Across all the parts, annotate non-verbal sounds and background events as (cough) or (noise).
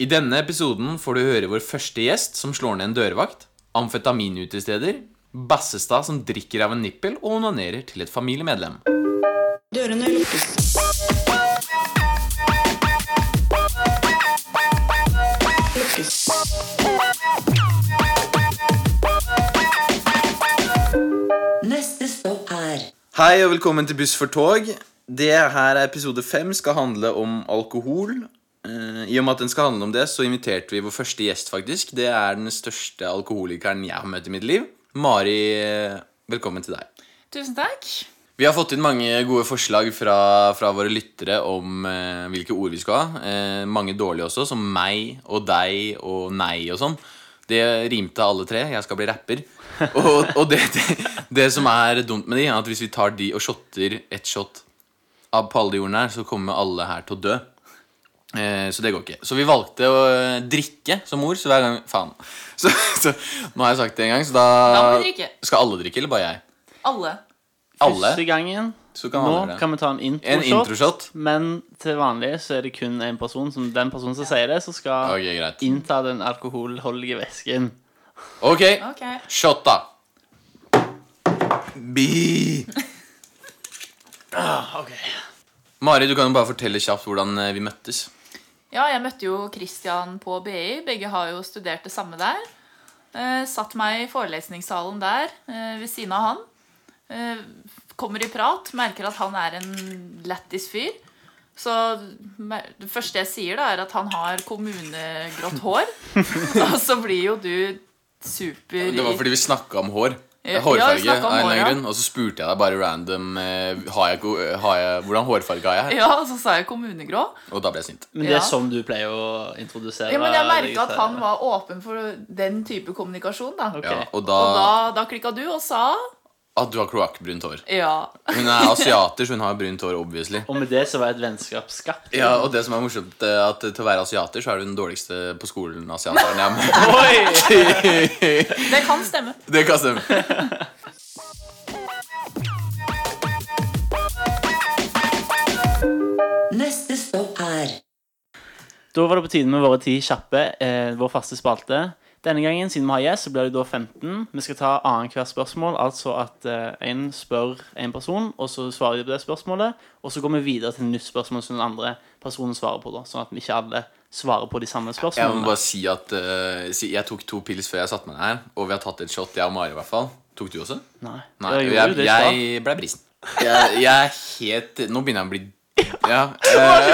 I denne episoden får du høre vår første gjest som slår ned en dørvakt, amfetaminutesteder, Bassestad som drikker av en nippel og onanerer til et familiemedlem. Dørene lukkes. Lukkes. Neste stopp er Hei og velkommen til Buss for tog. Det her er episode fem, skal handle om alkohol. Eh, I og med at den skal handle om det, så inviterte vi vår første gjest, faktisk. Det er den største alkoholikeren jeg har møtt i mitt liv. Mari, eh, velkommen til deg. Tusen takk. Vi har fått inn mange gode forslag fra, fra våre lyttere om eh, hvilke ord vi skal ha. Eh, mange dårlige også, som meg og deg og nei og sånn. Det rimte alle tre. Jeg skal bli rapper. Og, og det, det, det som er dumt med de, er at hvis vi tar de og shotter ett shot av på alle de ordene her, så kommer alle her til å dø. Eh, så det går ikke. Så vi valgte å eh, drikke som ord, så hver gang Faen. Så, så, nå har jeg sagt det en gang, så da Da må vi drikke. Skal alle drikke, eller bare jeg? Alle. Alle? Første gangen. Så kan Nå alle det. kan vi ta en En introshot. introshot? Men til vanlig så er det kun én person. Som den personen som sier det, som skal Ok, greit. innta den alkoholholdige væsken. Ok, Ok. shot da (laughs) Bi Ah, Ok Mari, du kan jo bare fortelle kjapt hvordan eh, vi møttes Ja, jeg møtte jo Christian på BI. Begge har jo studert det samme der. Eh, satt meg i forelesningssalen der eh, ved siden av han. Eh, kommer i prat, merker at han er en lættis fyr. Så mer- det første jeg sier, da, er at han har kommunegrått hår. Og så blir jo du super Det var fordi vi snakket om hår Ja, vi Hårfarge, snakket om av en eller hår, ja. annen grunn Og så spurte jeg deg bare random eh, har jeg, go- har jeg, Hvordan hårfarge har jeg? Ja, og så sa jeg kommunegrå. Og da ble jeg sint Men det Ja. er sånn du pleier å introdusere Ja, men jeg deg merka at til- han var åpen for den type kommunikasjon, da. Ok. ja, Og da, Og da, da klikka du og sa at du har kloakkbrunt hår ja. Hun er asiater, så hun har brunt hår, obviously Og med det så var et vennskap skapt. ja, (laughs) og det som er morsomt, eh, at til å være asiater Så er du den dårligste på skolen asiateren jeg har Oi! møtt. Det kan stemme. Det kan stemme. Neste stopp er Da var det på tide med våre ti kjappe, eh, vår faste spalte. Denne gangen, siden vi har gjest, så blir det da 15. Vi skal ta annethvert spørsmål, altså at én spør en person, og så svarer de på det spørsmålet, og så går vi videre til et nytt spørsmål som den andre personen svarer på, da, sånn at vi ikke alle svarer på de samme Jeg må spørsmålene. bare si at eh, si, Jeg tok to pils før jeg satte meg ned her, og vi har tatt et shot, jeg og Mari i hvert fall. Tok du også? Nei, Nei, jeg jeg, gjorde jeg, jo det i stad. ble brisen. Jeg, jeg er helt Nå begynner jeg å bli (laughs) Ja. eh,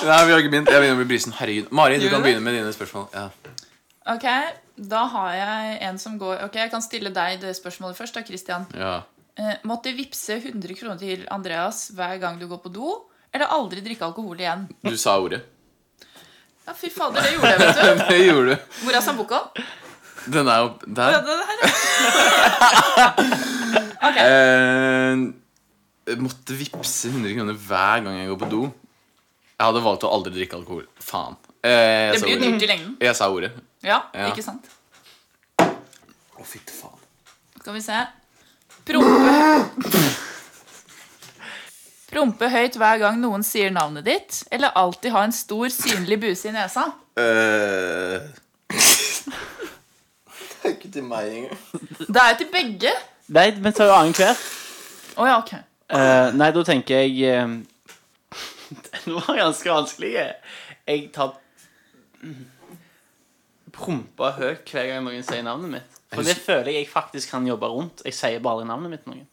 (laughs) Nei, vi har ikke begynt. Jeg begynner å bli brisen. Herregud. Mari, du Gjør kan du det? begynne med dine spørsmål. Ja. Ok, Da har jeg en som går Ok, Jeg kan stille deg det spørsmålet først. da, Christian. ja. Eh, måtte vippse 100 kroner til Andreas hver gang du går på do, eller aldri drikke alkohol igjen? Du sa ordet. (laughs) Ja, Fy fader, det gjorde jeg, vet du. Det gjorde du. Hvor er sambucaen? Den er jo Ja, der. det her er- (laughs) Ok, Eh, måtte vippse 100 kroner hver gang jeg går på do. Jeg hadde valgt å aldri drikke alkohol. Faen. Eh, jeg Det sa blir jo ordet. dyrt i lengden. Jeg sa ordet. Ja, Ja. ikke sant? Å, fytti faen. Skal vi se. Prompe Prompe høyt hver gang noen sier navnet ditt, eller alltid ha en stor, synlig buse i nesa? (laughs) det Eh. er ikke til meg engang. Det er jo til begge. Nei, vi tar jo annenhver. Å ja, ok. Eh, nei, da tenker jeg eh, (laughs) Den var ganske vanskelig. jeg. Jeg tar prompa høyt hver gang noen sier navnet mitt. For det føler jeg jeg faktisk kan jobbe rundt. Jeg sier bare navnet mitt til noen.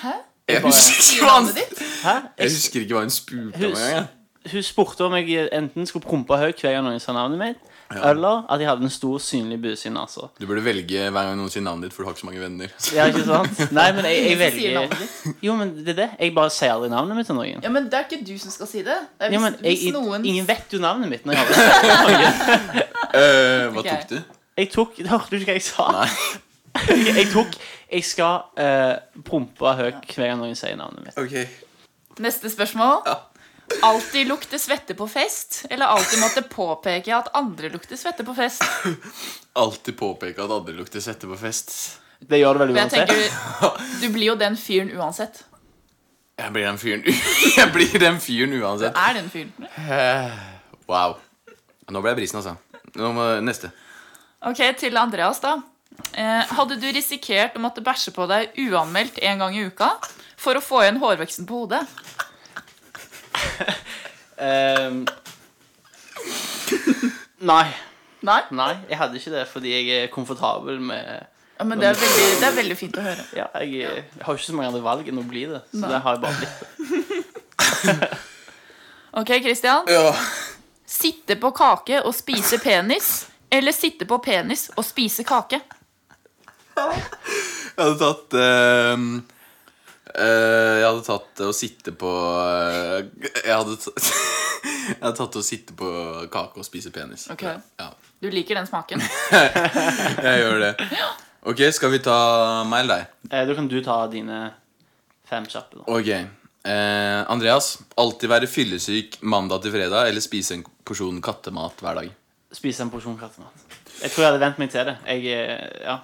Hæ? Jeg husker Sier ikke hva han navnet ditt? Hæ? Jeg Jeg, husker ikke hva hun spurte om Hus- engang. jeg. hun spurte om jeg enten skulle prompe høyt hver gang noen sa navnet mitt, eller at jeg hadde en stor, synlig buse i nesa. Du burde velge hver gang noen sier navnet ditt, for du har ikke så mange venner. Ja, ikke sant? Nei, men jeg, jeg Ingen sier navnet velger ditt. Jo, men det er det. Jeg bare sier aldri navnet mitt til noen. Ja, men det er ikke du som skal si det. det er hvis, Ja, men jeg, hvis noen ingen vet jo navnet mitt når jeg har det. (laughs) Eh, hva Ok. tok du? Jeg tok (laughs) Hørte du ikke hva jeg sa? (laughs) jeg, jeg tok Jeg skal eh, prompe høyt hver gang noen sier navnet mitt. Ok Neste spørsmål. Ja. Alltid lukte svette på fest, eller alltid måtte påpeke at andre lukter svette på fest? Alltid påpeke at andre lukter svette på fest. Det gjør det vel Men jeg uansett. tenker, Du blir jo den fyren uansett. Jeg blir den (laughs) fyren Jeg blir den fyren uansett. Er den fyren. Wow. Nå ble jeg brisen, altså. Nå må, neste. Ok, til Andreas, da. Eh, hadde du risikert å måtte bæsje på deg uanmeldt en gang i uka for å få igjen hårveksten på hodet? Ehm. nei. Nei? Nei, jeg hadde ikke det fordi jeg er komfortabel med Ja, men det er, veldig, det er veldig fint å høre. Ja, jeg, jeg har ikke så mange andre valg enn å bli det. Så Nei. det har jeg bare blitt. Ok, Christian. Ja. Sitte på kake og spise penis, eller sitte på penis og spise kake? Jeg hadde tatt ehm, eh, Jeg hadde tatt å sitte på eh, jeg, hadde t (laughs) jeg hadde tatt å sitte på kake og spise penis. Ok. Ja, Du liker den smaken. jeg gjør det. Ok, skal vi ta meg eller deg? Eh, da kan du ta dine fem kjappe, da. Ok. Eh, Andreas, alltid være fyllesyk mandag til fredag eller spise en porsjon kattemat hver dag? Spise en porsjon kattemat. Jeg tror jeg hadde vent meg til det. Jeg, eh, ja,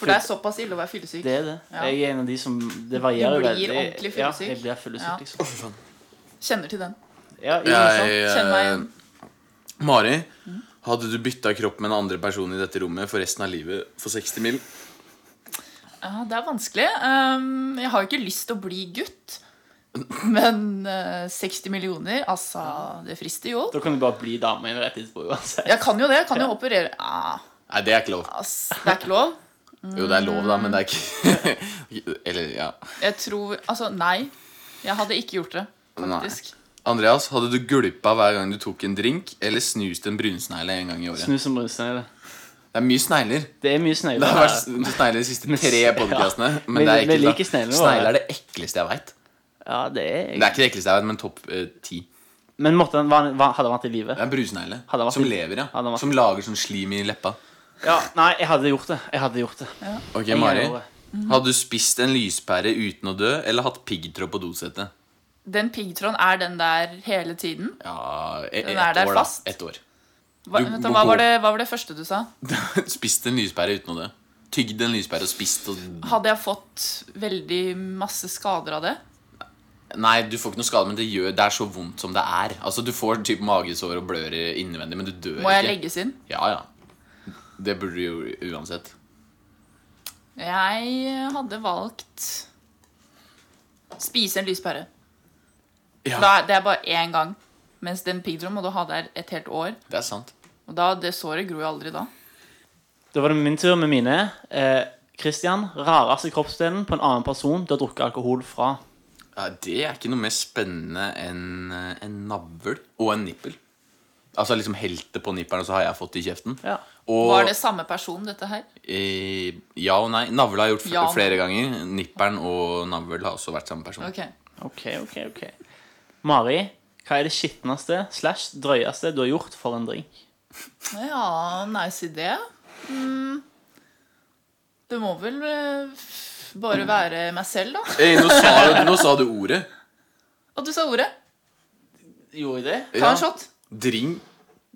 For det er såpass ille å være fyllesyk. det er det. Ja. Jeg er en av de som Det varierer Du blir veldig. ordentlig fyllesyk. Ja, jeg blir fyllesyk, Ja. liksom. Kjenner til den. Ja, sånn jo, Jeg, sant. Kjenn meg igjen. eh, Mari, hadde du bytta kropp med en andre person i dette rommet for resten av livet for 60 mil? Ja, det er vanskelig. Ehm, jeg har jo ikke lyst til å bli gutt. Men eh, 60 millioner, altså Det frister jo. Da kan du bare bli dame i rett etterpå uansett. Jeg kan jo det. Jeg kan jo operere ah, Nei, det er ikke lov. ass, Det er ikke lov. Jo, det er lov, da, men det er ikke (laughs) Eller, ja. Jeg tror Altså, nei. Jeg hadde ikke gjort det, faktisk. Andreas, hadde du gulpa hver gang du tok en drink, eller snust en brunsnegle en gang i året? Snu som brunsnegle. Det er mye snegler. Det er mye snegler. Det har vært her. sn- snegler de siste Men- tre podcastene ja. men Men det er vi- ikke vi da. liker snegler, da. Snegler er det ekleste jeg veit. Ja, det Det er er ikke det ekleste jeg vet, men topp eh, ti. Men måtte han, var han, var, hadde han vært i live? Det er en brunsnegle. Hadde han vært Som i- lever, Hadde han ja. vært- Som lager sånn slim i leppa. Ja, nei, jeg hadde gjort det. Jeg hadde gjort det. Ok, Jeg Mari. gjør det. Hadde du spist en lyspære uten å dø, eller hatt piggtråd på dosetet? Den piggtråden, er den der hele tiden? Ja, e- Den ett er der år, da. fast. Ett år. (laughs) Hva, Du- vent, da, du hva, går- var det, hva var det første du sa? Spist en lyspære uten å dø. Tygd en lyspære og spist og Hadde jeg fått veldig masse skader av det? Nei, du får ikke noe skade, men det, gjør, det er så vondt som det er. Altså, Du får typ magesår og blør innvendig, men du dør Må jeg ikke. legges inn? Ja, ja. Det burde du jo uansett. Jeg hadde valgt spise en lyspære. Ja. Da, er- det er bare én gang. Mens den piggtråden må du ha der et helt år. Det er sant. Og da, det såret gror jo aldri da. Da var det min tur med mine. Eh, Christian, rareste kroppsdelen på en annen person du har drukket alkohol fra. Ja, det er ikke noe mer spennende enn eh, en navl og en nippel. Altså liksom helt det på nippelen, og så har jeg fått det i kjeften. Ja. Og Var det samme person, dette her? eh, ja og nei. Navla har jeg gjort fl- Ja. flere ganger. Nippelen og navl har også vært samme person. Ok. Ok, ok, ok. Mari, hva er det skitneste slash drøyeste du har gjort for en drink? Ja, nice idé. Mm. Det må vel eh, f- bare være meg selv, da. Eh, nå, sa, nå sa du ordet. At du sa ordet. Gjorde jeg det? Ta Ja. en shot. Drink.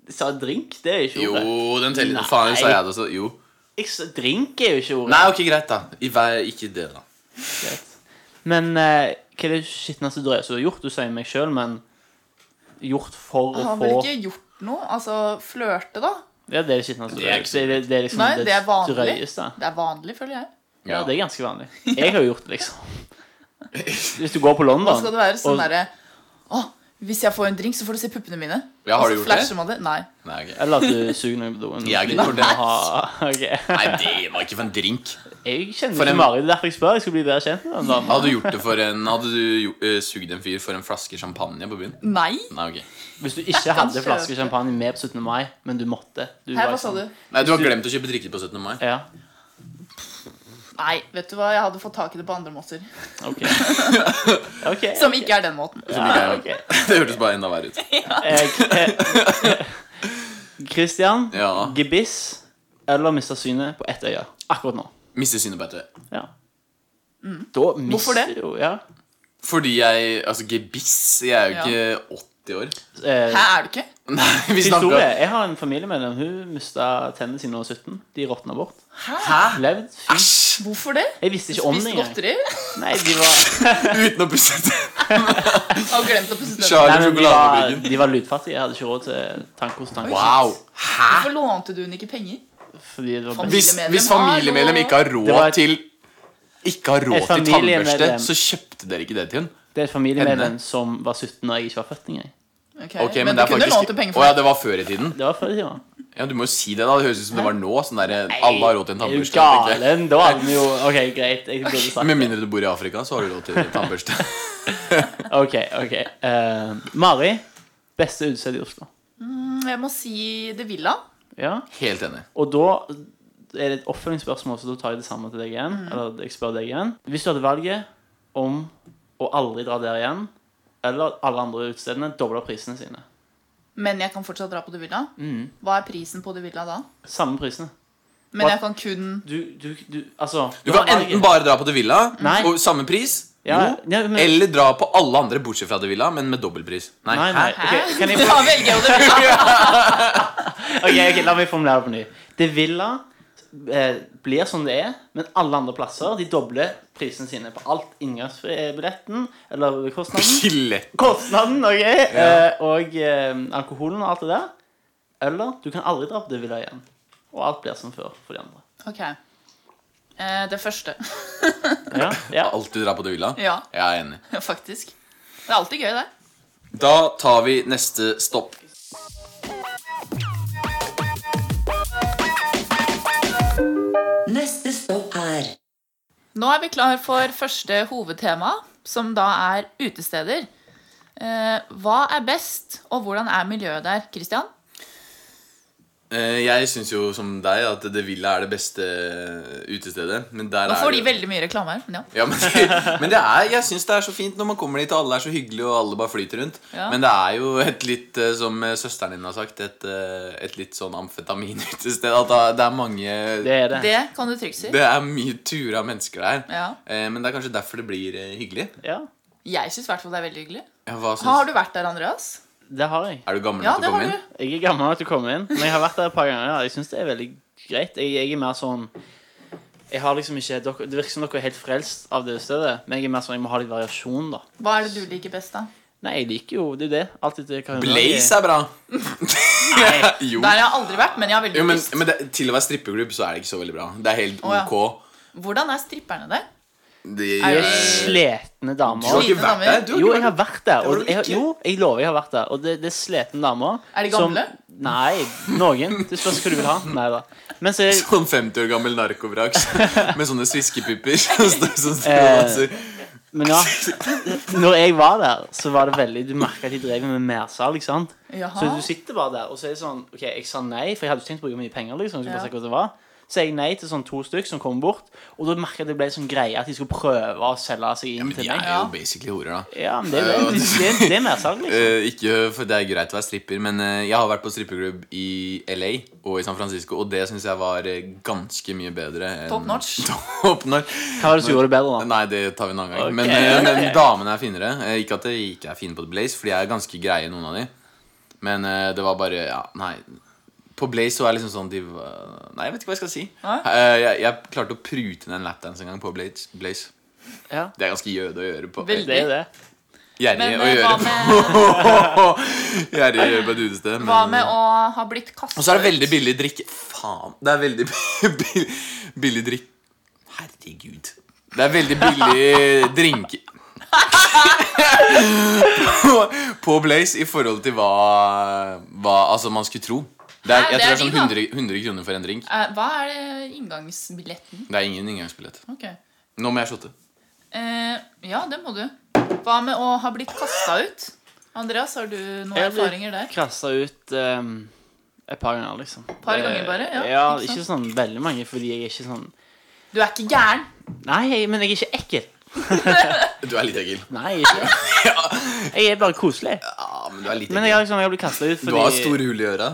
Sa jeg drink? Det er jo ikke Jo, ordet. den teller. Nei. Faen, sa jeg det også. Jo. Jeg sa- drink er jo ikke ordet. Nei, ok, greit, da. I hver, ikke det, da. Greit. Men eh, hva er det skitneste drøyeste du har gjort? Du sier meg selv, men gjort for Jeg å har få vel ikke gjort noe. Altså flørte, da. Ja, det er det skitneste Det er ikke drøyeste. så Det, det, det er liksom Nei, det, det er vanlig. drøyeste. Det er vanlig, føler jeg. Ja, Ja. det er ganske (laughs) vanlig. Jeg har jo gjort det, liksom. Hvis du går på London Da skal det være sånn og- derre Å, hvis jeg får en drink, så får du se puppene mine. Ja, har du Og så gjort det? flasher man det? Nei. Nei, ok. Eller at du suger noe på doen. Jeg har ikke Du gjort det. må ha- (laughs) ok. Nei, det var ikke for en drink. Jeg kjenner For ikke en- Mari. Det er derfor jeg spør. Jeg skal bli bedre kjent med den damen. Hadde du gjort det for en Hadde du jo- eh, sugd en fyr for en flaske champagne på byen? Nei? Nei, ok Hvis du ikke hadde Kanskje. flaske champagne med på 17. mai, men du måtte du Hæ, var hva sa du? liksom- Nei, Du har glemt å kjøpe drikke på 17. mai. Ja, Nei, vet du hva, jeg hadde fått tak i det på andre måter. ok. (laughs) Ok. Som ikke er den måten. Ja, ok. Det hørtes bare enda verre ut. Eh, (laughs) eh, Christian, Ja. gebiss eller miste synet på ett øye akkurat nå. Mm. Mister synet på ett øye. Ja. Da mister Hvorfor det? du jo ja. Fordi jeg Altså, gebiss Jeg er jo Ja. ikke 80 år. Eh, Hæ, er du ikke? Nei, vi Historie. snakker Jeg har en familiemedlem. Hun mista tennene sine da hun var 17. De råtna bort. Hæ? Levd. Fy. Æsj! Hvorfor det? Jeg visste ikke om det Spiste engang. godteri? Nei, de var, Uten å pusse Har glemt å pusse tennene. nei, Charlie men de var, sjokoladefabrikken. de var lydfattige. Jeg hadde ikke råd til tankos tankos. Wow! Hæ? Hvorfor lånte du den ikke penger? Fordi det var best. Hvis, hvis familiemedlem ikke har råd Det var et- til Ikke har Et råd til tannbørste, familiemedlem. så kjøpte dere ikke det til henne. Eh, Det er et familiemedlem Henne? som var 17 da jeg ikke var født engang. Ok, Ok, men, du kunne lånt penger Å for ja, det. det var før i tiden? Det var før i tida. Ja, Du må jo si det. da, Det høres ut som det var nå. Sånn der, alle har råd til en Er du tannbørste. tenker jeg. galen? altså? Da hadde vi jo Ok, greit. Jeg burde sagt Med det. mindre du bor i Afrika, så har du råd til (laughs) tannbørste. Ok, ok. Eh, Mari. Beste utested i Oslo. Mm, Jeg må si The Villa. Ja. Helt enig. Og da er det et oppfølgingsspørsmål, så da tar jeg det samme til deg igjen. Mhm. Eller jeg spør deg igjen. Hvis du hadde valget om å aldri dra der igjen, eller alle andre utestedene dobler prisene sine. Men jeg kan fortsatt dra på The Villa. Hva er prisen på The Villa da? Samme prisene. Mm. Hva- Men jeg kan kun (laughs) Du, du, du Altså Du kan enten bare dra på The Villa Nei. og samme pris, Ja, jo, ja, men- eller dra på alle andre bortsett fra The Villa, men med dobbeltpris. Nei, Nei, nei. hæ? Ok, Hæ? kan jeg Da velger jeg The Villa. Ok, ok, La meg formulere det på ny. Det Villa eh, blir som det er, men alle andre plasser de dobler prisene sine på alt. Inngangsbilletten, eller (laughs) kostnaden. Skjelett. Kostnaden, ok. Eh, og eh, alkoholen og alt det der. Eller du kan aldri dra på det Villa igjen. Og alt blir som før for de andre. Ok. Eh, Det første, (laughs) Ja, ja. (laughs) Alltid dra på The Villa? Ja. Jeg er enig. faktisk. Det er alltid gøy, det. Da tar vi neste stopp. Neste stopp er Nå er vi klar for første hovedtema, som da er utesteder. Eh, hva er best, og hvordan er miljøet der? Christian? Eh, Jeg syns jo som deg at The Villa er det beste eh, utestedet. Men der Nå får de er det- veldig mye reklame her. Men ja. (laughs) ja, men, men det er, jeg syns det er så fint når man kommer dit, og alle er så hyggelige, og alle bare flyter rundt. Ja. Men det er jo et litt, eh, som eh, søsteren din har sagt, et, eh, et litt sånn amfetaminutested. At da- det er mange Det er det. Det kan du trygt si. Det er mye ture av mennesker der. Ja. Eh, men det er kanskje derfor det blir eh, hyggelig. Ja, Jeg syns i hvert fall det er veldig hyggelig. Ja, hva syns- Har du vært der, Andreas? det har jeg. Er du gammel Ja, nok det til å komme har inn? du. Jeg er gammel nok til å komme inn, men jeg har vært der et par ganger. og Jeg synes det er veldig greit. Jeg, jeg er mer sånn jeg har liksom ikke, dere, Det virker som dere er helt frelst av det stedet, men jeg er mer sånn, jeg må ha litt variasjon. da. Hva er det du liker best, da? Nei, jeg liker jo det. er jo det. Alt etter hva hun Blaze er bra. Nei. (laughs) jo. Der har jeg aldri vært, men jeg har veldig jo, men, lyst. men det, til å være strippeklubb så er det ikke så veldig bra. Det er helt Å, ja. ok. Hvordan er stripperne der? Det, De Er det- er sletne du har damer. ikke vært der? Du har Jo, ikke jeg har vært vært der. Det har Og du jeg, har- ikke. jo, jeg lover jeg har vært der. Og det, det er sletne damer. Er de som- gamle? nei. Noen. Det spørs hva du vil ha. Nei da. Men så er Sånn 50 år gammel (laughs) narkovrak med sånne sviskepupper. (laughs) som står- som står og Eh. danser. Men ja. Når jeg var der, så var det veldig Du merka at de drev med mersalg, ikke sant? Så Jaha. du sitter bare der, og så er det sånn Ok, jeg sa nei, for jeg hadde ikke tenkt å bruke mye penger, liksom. Så Ja. bare se hva det var. Så jeg nei til sånn to stykk som kom bort, og da merka jeg at det ble sånn greie at de skulle prøve å selge seg inn Men til de meg. er jo basically horer, da. Ja, men det er jo det. Det, det, det er mersalg, liksom. Eh, ikke for Det er greit å være stripper, men eh, jeg har vært på strippeklubb i LA og i San Francisco, og det syns jeg var eh, ganske mye bedre enn Top notch. (laughs) Top notch. Hva var det som gjorde det bedre, da? Nei, det tar vi en annen gang. Ok. Men, eh, men damene er finere. Eh, Ikke at de ikke er fine på The Blaze, for de er ganske greie, noen av de. Men eh, det var bare Ja, nei. På Blaze så er det liksom sånn de var- Nei, jeg vet ikke hva jeg skal si. Nei? Eh, Jeg, jeg klarte å prute ned en lapdance en gang på Blaze. Blaze. Ja. Det er ganske jøde å gjøre på. Veldig. Det er jo det. Gjerrig Men å eh, hva gjøre på. med, Gjerrig å gjøre på et utested. hva (laughs) men- med å ha blitt kastet Og så er det veldig billig drikke. Faen. Det er veldig (laughs) billig, billig drikke Herregud. Det er veldig billig drink på, på Blaze i forhold til hva, hva altså man skulle tro. Det er, Nei, jeg det tror det er er sånn de, da. 100, 100 kroner for en drink. Eh, Hva er det inngangsbilletten? Det er ingen inngangsbillett. Ok. Nå må jeg shotte. Eh, ja, det må du. Hva med å ha blitt kasta ut? Andreas, har du noen Jeg blir erfaringer der? krasset ut ehm, et par ganger, liksom. Par Det- ganger bare, ja, ja ikke ikke, sånn veldig mange, fordi jeg er ikke sånn Du er ikke gæren. Nei, jeg, men jeg er ikke ekkel. Du er litt ekkel. Nei, jeg er ikke (laughs) Jeg er bare koselig. Ja, men du er litt Men jeg har ekkel. liksom jeg har blitt kasta ut fordi Du har store hull i øra.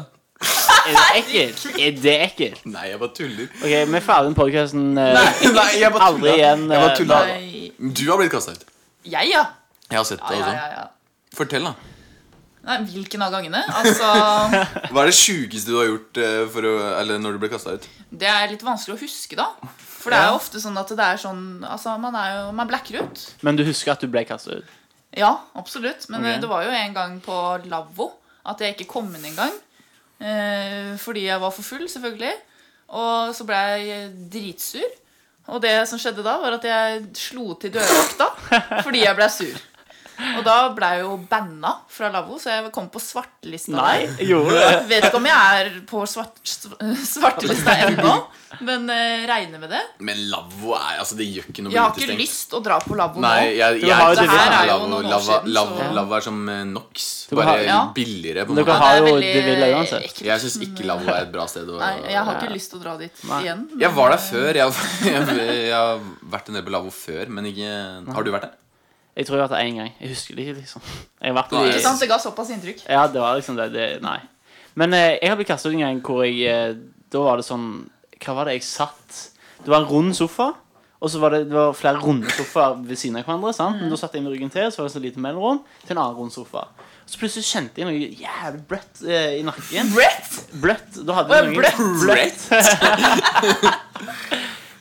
Er det ekkel? Er det ekkel? Nei, jeg bare tuller. Ok, vi er ferdig med podkasten. Nei, jeg bare Aldri tulla. igjen, Jeg bare eh, tulla. Nei. Du har blitt kasta ut. Jeg, ja. Jeg har sett Ja, det ja, også. ja, ja. Fortell, da. Nei, hvilken av gangene? Altså, (laughs) Hva er det sjukeste du har gjort eh, for å, eller når du ble kasta ut? det er litt vanskelig å huske, da. For det er jo ofte sånn at det er sånn Altså, man er jo Man blacker ut. Men du husker at du ble kasta ut? Ja, absolutt. Men Ok. eh, det var jo en gang på lavvo at jeg ikke kom inn engang. Eh, fordi jeg var for full, selvfølgelig. Og så ble jeg dritsur. Og det som skjedde da, var at jeg slo til dørvakta (laughs) fordi jeg ble sur. Og da ble jeg jo banna fra lavvo, så jeg kom på svartelista. Nei, jeg gjorde det. Jeg vet ikke om jeg er på svart, svartelista ennå, men eh, regner med det. Men lavvo er altså Det gjør ikke noe Jeg har ikke utestengt. lyst å dra på lavvo nå. Nei, jeg, Du jeg, har jeg, jo det vi- Det her er jo lavvo, noen år lava, siden, lava, så- lava er som eh, NOx, Du bare har- Ja. billigere. på en Dere måte har- det er jo veldig det ville jeg uansett. ekkelt, Jeg syns men, ikke lavvo er et bra sted å Nei, jeg har ikke lyst til å dra dit Nei. igjen. men- Jeg var (laughs) der før. Jeg, jeg, jeg har vært en del på lavvo før, men ikke Har du vært der? Jeg tror jeg har vært der én gang. Jeg husker det ikke, liksom. Jeg har vært på Nei. Ikke de sant? Det ga såpass inntrykk. Ja, det var liksom det. det nei. Men eh, jeg har blitt kastet ut en gang hvor jeg eh, Da var det sånn Hva var det jeg satt Det var en rund sofa, og så var det, det var flere runde sofaer ved siden av hverandre. sant? Men da satt jeg med ryggen til, så var det sånn lite mellomrom til en annen rund sofa. Så plutselig kjente jeg noe jævlig bløtt eh, i nakken. Brett! Bløtt. Da hadde Åh, noen bløtt.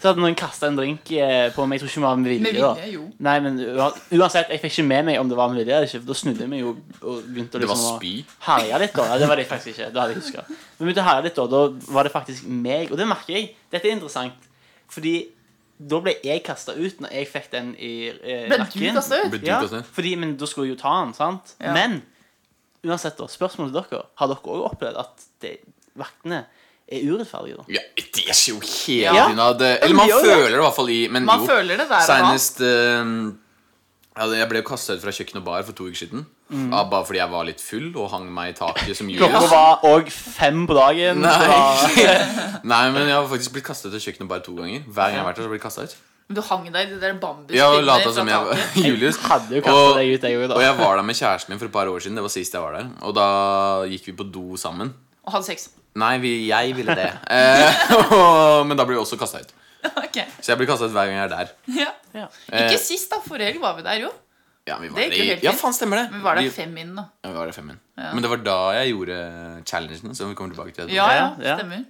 Så hadde noen kasta en drink eh, på meg. Jeg tror ikke det var med vilje. Med da. vilje, jo. Nei, men ua- uansett, jeg fikk ikke med meg om det var med vilje eller ikke. for Da snudde jeg meg jo og begynte å Det var liksom å spy. herje litt. da Nei, Det var det faktisk ikke. Det hadde jeg husket. Men begynte å herje litt, da. Da var det faktisk meg. Og det merker jeg. Dette er interessant. Fordi da ble jeg kasta ut når jeg fikk den i eh, Ble du nakken. kastet ut? Ble du Ja, kastet? fordi, men da skulle jeg jo ta den, sant? Ja. Men uansett, da, spørsmålet til dere. Har dere òg opplevd at det, vaktene er urettferdige, da? Ja, det er jo helt Ja. unna det. Eller man Ja, det gjør føler det i hvert fall i Men Man jo, føler det der og da. senest eh, ja, Jeg ble kasta ut fra kjøkken og bar for to uker siden. Ja, bare fordi jeg var litt full og hang meg i taket som Mm. Klokka Julius. var òg fem på dagen. så Nei. da- Nei, men jeg har faktisk blitt kasta ut av kjøkkenet bare to ganger. Hver gang jeg har vært der, så blir jeg kastet ut. Men Du hang deg i de der bambuspinner Jeg lata fra som jeg var (laughs) taket. Julius. hadde jo Og- kastet deg ut, jeg òg, da. Og jeg var der med kjæresten min for et par år siden. Det var sist jeg var der. Og da gikk vi på do sammen. og hadde sex. (laughs) Nei, vi, jeg ville det. Eh, og, men da blir jeg også kasta ut. Ok, Så jeg blir kasta ut hver gang jeg er der. ja. Ja. Eh. Ikke sist, da. Forrige helg var vi der, jo. Ja, vi var Det gikk der jo i- helt ja fint. faen, stemmer det. Vi var der Vi- fem inn, da. Ja, vi var der fem min. Men det var da jeg gjorde challengen. Som vi kommer tilbake til Ja, ja, Ja, ja. stemmer.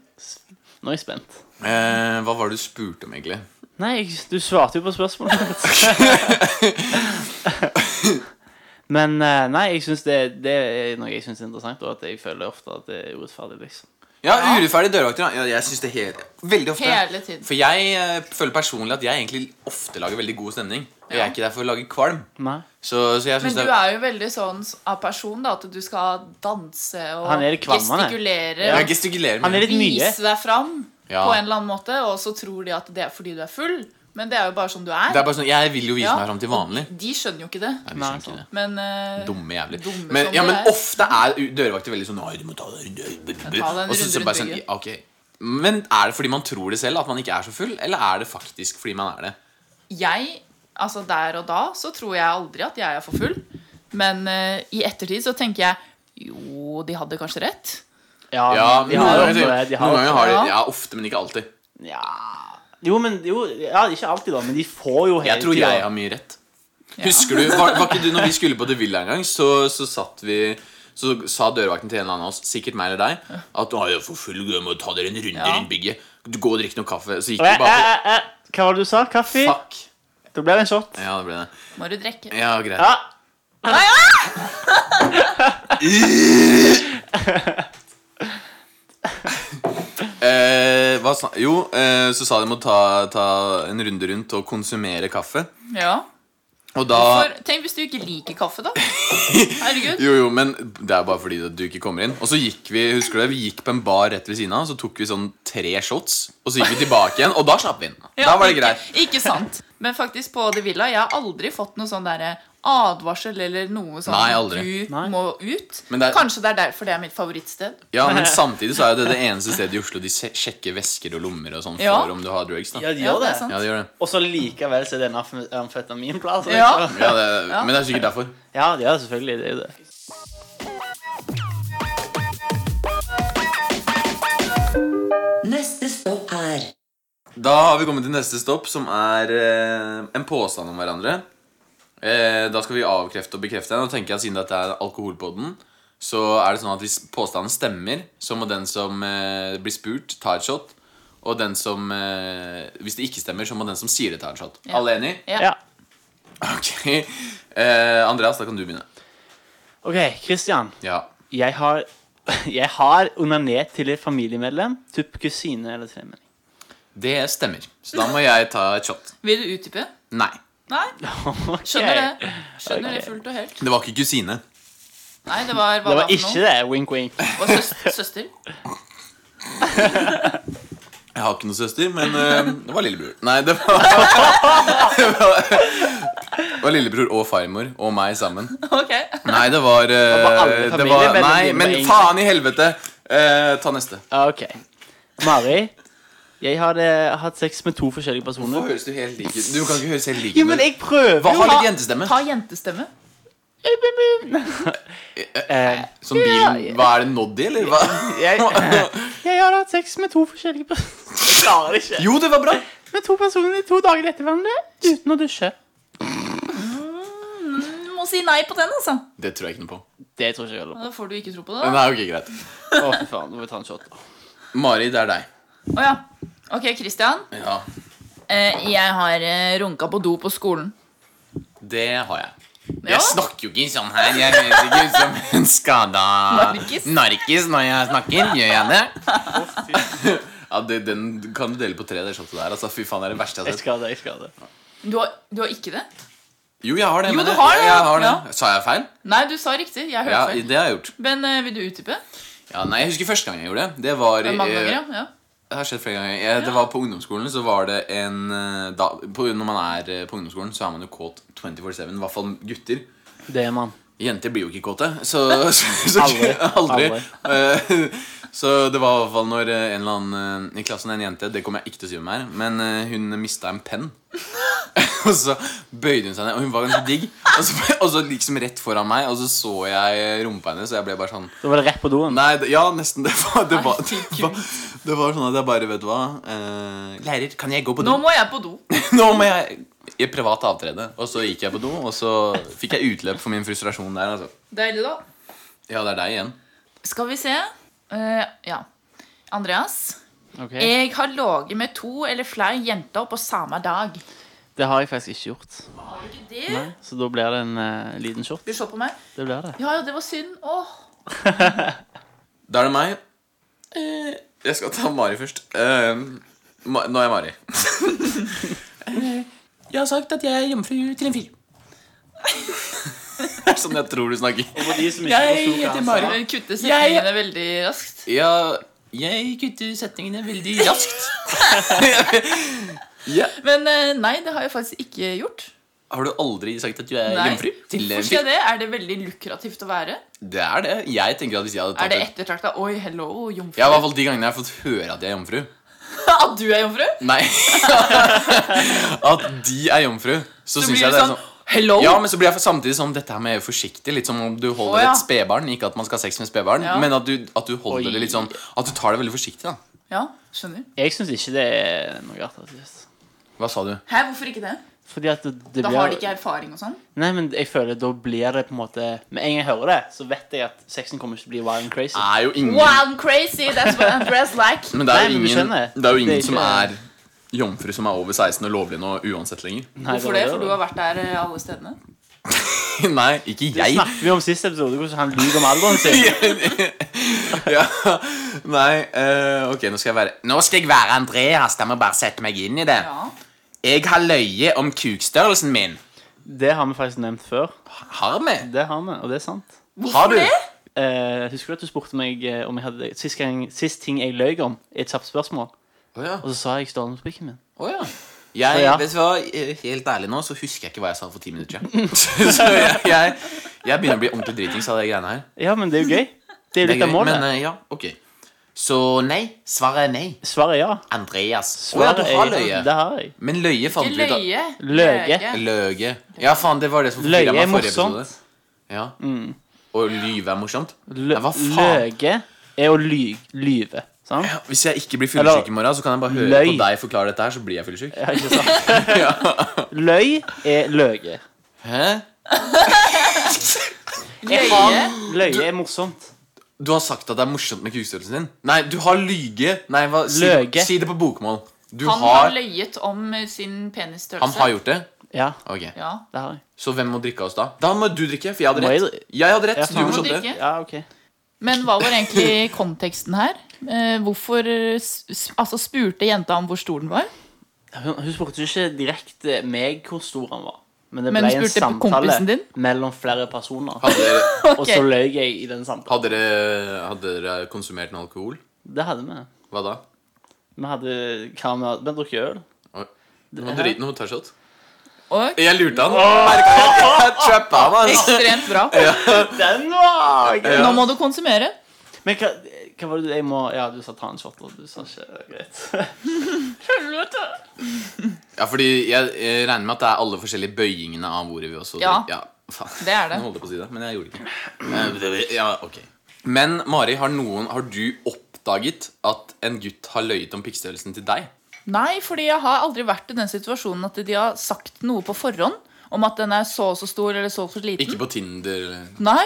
Nå er jeg spent. eh, Hva var det du spurte om, egentlig? Nei, jeg- du svarte jo (laughs) på spørsmålet mitt. Men eh, nei, jeg synes det, det er noe jeg syns er interessant, og at jeg føler ofte at det er urettferdig, liksom. Ja, Urettferdige dørvakter. Ja, jeg synes det helt, Veldig ofte. Hele tiden. For jeg eh, føler personlig at jeg egentlig ofte lager veldig god stemning. Og jeg er ikke der for å lage kvalm. Nei. Så, så jeg Men synes du det er jo veldig sånn s- av person, da, at du skal danse og Han er litt kvam, han er. gestikulere. Jeg gestikulerer Han er mye. litt mye. Vise deg fram Ja. på en eller annen måte, og så tror de at det er fordi du er full. Men det er jo bare sånn du Det er. er bare sånn, Jeg vil jo vise Ja. meg fram til vanlig. De skjønner jo ikke det. Nei, vi Nei, skjønner ikke det. Men eh, Dumme jævler. Dumme Men, som ja, de men er. ofte er u- dørvakter veldig sånn Nei, du må ta den runde Og så, så rundt bare sånn bygget. ja, Ok. Men er det fordi man tror det selv, at man ikke er så full? Eller er det faktisk fordi man er det? jeg, altså der og da, så tror jeg aldri at jeg er for full. Men eh, i ettertid så tenker jeg jo, de hadde kanskje rett. Ja, Ja, de noen har ganger, ofte det. De har noen ganger ofte har de Ja. Ja, ofte, men ikke alltid. det. Ja. Jo, men jo, ja, Ikke alltid, da, men de får jo hele Jeg tror tiden. jeg har mye rett. Husker du, var, var ikke du Når vi skulle på The Villa en gang, så, så satt vi så sa dørvakten til en eller annen av oss, sikkert meg eller deg, at «Å, jeg er for full, jeg må ta dere en runde Ja. rundt bygget. Du Gå og drikk noe kaffe. Så gikk Eh, vi bare eh, eh, eh, Hva var det du sa? Kaffe? til Fuck. Da ble det en shot. Ja, det ble det. Må du drikke? Ja, greit. Ja. Nei, ja! Eh, hva sa Jo, eh, så sa de må ta, ta en runde rundt og konsumere kaffe. ja. Og da For, tenk hvis du ikke liker (laughs) kaffe, da. Herregud. Jo, jo, men det er bare fordi at du ikke kommer inn. Og så gikk vi husker du det, vi gikk på en bar rett ved siden av, så tok vi sånn tre shots. Og så gikk vi tilbake igjen, og da slapp vi inn. da Ja, var det ikke- greit. Ikke sant. Men faktisk, på The Villa, jeg har aldri fått noe sånn derre advarsel eller noe sånn Nei, aldri. du Nei. må ut. Men det er- Kanskje det er derfor det er mitt favorittsted. Ja, Men samtidig så er jo det det eneste stedet i Oslo de sje- sjekker vesker og lommer og sånn for Ja. om du har drugs. da Ja, de Ja, gjør det er det. sant. Ja, det gjør det. og så likevel så er det en amf- amfetaminplass. Ja. liksom. Ja, det Men det er sikkert derfor. Ja, ja, selvfølgelig. Det er jo det. Neste stopp er Da har vi kommet til neste stopp, som er eh, en påstand om hverandre. Eh, da skal vi avkrefte og bekrefte den. Og tenker jeg at Siden dette er alkoholpodden, så er det sånn at hvis påstanden stemmer, så må den som eh, blir spurt, ta et shot. Og den som eh, Hvis det ikke stemmer, så må den som sier det, ta en shot. Ja. Alle enig? Ja. Ja. (laughs) Ok. Eh, Andreas, da kan du begynne. OK, Christian. Ja. Jeg har, (laughs) jeg har onanert til et familiemedlem. Tupp kusine eller tremenning. Det stemmer. Så da må jeg ta et shot. Vil du utdype? Nei. Nei? Ok. Skjønner det. Skjønner Ok. det fullt og helt. Det var ikke kusine. Nei, det var hva Det var for noe? ikke det. Wink, wink. Og søs- søster. (laughs) Jeg har ikke noen søster, men eh, det var lillebror. Nei, det var (laughs) Det var, det var lillebror og farmor og meg sammen. Ok. Nei, det var, eh, var alle det var familiemedlemmene Nei, dine men med en faen i helvete! Eh, ta neste. OK. Mari. Jeg har eh, hatt sex med to forskjellige personer. høres du helt lik ut? Du kan ikke høres helt lik ut. Jo, men jeg prøver Hva jo! har Ta- litt jentestemme? Ta jentestemme. (laughs) Eh, Som bilen Hva er det nådd i, eller? (laughs) Hva? Jeg- jeg har hatt sex med to forskjellige personer. (laughs) Jeg klarer det ikke. Jo, det var bra! Med to personer i to dager etter hverandre uten å dusje. Du må si nei på den, altså. Det tror jeg ikke noe på. Det tror ikke jeg er lov. Da får du ikke tro på det. da. Nei, ok, greit Å, fy faen. Nå må vi ta en shot. da. Mari, det er deg. Å ja. Ok, Christian. Ja, Eh, jeg har eh, runka på do på skolen. det har jeg. Ja. Jeg snakker jo ikke sånn her. Jeg høres ikke ut som en skada Narkis. narkis når jeg snakker. Gjør jeg det? Ja, det, Den kan du dele på tre. Det shotet der altså, Fy faen, det er det verste jeg Jeg har sett. skal ha det. jeg skal ha det. Du har, du har ikke det? Jo, jeg har det. Jo, men du jeg- har det. Jeg har det. Ja. Sa jeg feil? Nei, du sa riktig. Jeg hørte Ja, feil. det har jeg gjort. Men eh, vil du utdype? Ja, nei, Jeg husker første gang jeg gjorde det. Det var Det er mange eh, ganger, ja. ja. Det har skjedd flere ganger. Jeg, Det var På ungdomsskolen så var det en eh, da, på, Når man er eh, på ungdomsskolen, så er man jo kåt 24-7. I hvert fall gutter. Det, mann. Jenter blir jo ikke kåte. Så, så, så Aldri. aldri. Aldri. Eh, så det var i hvert fall når eh, en eller annen eh, i klassen, en jente Det kommer jeg ikke til å si hvem er, men eh, hun mista en penn. (laughs) og så bøyde hun seg ned, og hun var ganske digg. Og så, (laughs) og så liksom rett foran meg, og så så jeg rumpa hennes, og jeg ble bare sånn Da var det rett på doen. Nei, det, ja, nesten. Det var, det, Nei, var, fy det, var, det var sånn at jeg bare Vet du hva? eh, lærer, kan jeg gå på do? Nå må jeg på do. (laughs) Nå må jeg i privat avtrede. Og så gikk jeg på do, og så fikk jeg utløp for min frustrasjon der. Altså. Deilig, da. Ja, det er deg igjen. Skal vi se. Eh, ja. Andreas. Ok. Jeg har ligget med to eller flere jenter på samme dag. Det har jeg faktisk ikke gjort. Har du ikke det? Nei. Så da blir det en eh, liten shot. Du så på meg. Det blir det. Ja, ja, det var synd. Åh. Da er det meg. Eh, Jeg skal ta Mari først. Eh, Ma Nå er jeg Mari. (laughs) Eh, jeg har sagt at jeg er jomfru til en fyr. (laughs) Det er sånn jeg tror du snakker. Jeg heter Mari. Det kutter setningene veldig raskt. Ja, jeg kutter setningene veldig raskt. ja. Men eh, nei, det har jeg faktisk ikke gjort. Har du aldri sagt at du er Nei. hjemfri? Eh, Til Hvorfor skal jeg det? Er det veldig lukrativt å være? Det er det. Jeg tenker at hvis jeg hadde Er tatt det ettertrakta? Oi, hello, jomfru. Ja, i hvert fall de gangene jeg har fått høre at jeg er jomfru. (laughs) At du er jomfru? Nei. (laughs) at de er jomfru. Så, Så synes blir jeg du det er sånn sånn Hello! ja, men så blir jeg samtidig sånn Dette her må jeg gjøre forsiktig. Litt som om du holder Å, ja. et spedbarn. Ikke at man skal ha sex med spedbarn, Ja. men at du, at du holder Oi. det litt sånn At du tar det veldig forsiktig. da Ja, skjønner. Jeg syns ikke det er noe attraktivt. Hva sa du? Hæ, hvorfor ikke det? Fordi at det, det Da blir har de ikke erfaring og sånn. Nei, men jeg føler da blir det på en måte Med en gang jeg hører det, så vet jeg at sexen kommer ikke til å bli wild and crazy. Ah, Det er jo ingen Wow, I'm crazy! That's what Andreas (laughs) like. Men det er jo Nei, men du ingen, skjønner. det er jo ingen Det er som ikke- er jomfru som er over 16 og lovlig nå uansett lenger. (laughs) Nei, Hvorfor det? For du har vært der eh, alle stedene. Nei, ikke Det jeg. snakket vi om sist episode, hvordan han lyver om alderen (laughs) sin. ja. (laughs) Nei, eh, ok, nå skal jeg være Nå skal jeg være Andreas, da må jeg bare sette meg inn i det. Ja. Jeg har løyet om kukstørrelsen min. Det har vi faktisk nevnt før. Har vi? Det har vi, og det er sant. Har du? det? Eh, husker du at du spurte meg eh, om jeg hadde sist, gang, sist ting jeg løy om? i Et kjapt spørsmål. Å ja. Og så sa jeg stolnspikken min. å ja. Jeg, Ja. vet du hva, eh, Helt ærlig nå så husker jeg ikke hva jeg sa for ti minutter siden. (laughs) så jeg, jeg, jeg begynner å bli ordentlig dritings av de greiene her. Ja, men det er jo gøy. Det er jo Det er litt av gøy, målet. Men eh, ja, ok. Så nei. Svaret er nei. Svaret er ja. Andreas. Å ja, Svaret du har er- løyet. Det har jeg. Men løye fant Ikke vi ut av. løye. Løge. Løge. Ja, faen, det var det som Løye forvirra meg er forrige morsomt. Mm. episode. Ja. Og lyve er morsomt? Lø Nei, hva faen? løge er å ly lyve. Sant? Ja, Hvis jeg ikke blir fyllesyk Eller- i morgen, så kan jeg bare høre Løy. på deg forklare dette her, så blir jeg fyllesyk. Ja, ikke (laughs) sant? Løy er løge. Hæ? Jeg Løye? har- Løye er morsomt. Du har sagt at det er morsomt med kukstørrelsen din. Nei, du har lyge. Nei, hva, si, Løge. si det på bokmål. Du Han har har løyet om sin Han penisstørrelse. har gjort det? Ja, Ok. Ja. det har jeg. Så hvem må drikke av oss da? Da må du drikke, for jeg hadde Må jeg rett. dri- Jeg hadde rett, Ja, så du faen. må Må shotte. drikke? Ja, ok. Men hva var egentlig konteksten her? Eh, hvorfor eh, s- s- altså, spurte jenta om hvor stor den var? Hun, hun spurte jo ikke direkte meg hvor stor han var. Men det Men ble en spurte samtale kompisen din? mellom flere (laughs) personer. Hadde dere, Og så løy jeg i den samtalen. hadde, dere, hadde dere konsumert noe alkohol? Det hadde vi. Hva da? Vi hadde hva vi hadde, vi drukket øl. Oi. Nå må du drite, nå må du ta shot. Og Jeg lurte han. Merka jeg. Jeg trappa ham, altså. ekstremt (laughs) bra. Den var gøy! Nå må du konsumere. Men hva, hva var det du- jeg må Ja, du sa ta en shot, og du sa ikke greit. (laughs) Helvete! Ja, fordi jeg eh, regner med at det er alle forskjellige bøyingene av ordet vi også Ja. ja faen. Det er det. Nå holdt jeg på å si det, men jeg gjorde det ikke. Eh, Ja, ok. Men Mari, har, noen, har du oppdaget at en gutt har løyet om pikkstørrelsen til deg? Nei, fordi jeg har aldri vært i den situasjonen at de har sagt noe på forhånd om at den er så og så stor eller så og så liten. Ikke på Tinder eller Nei,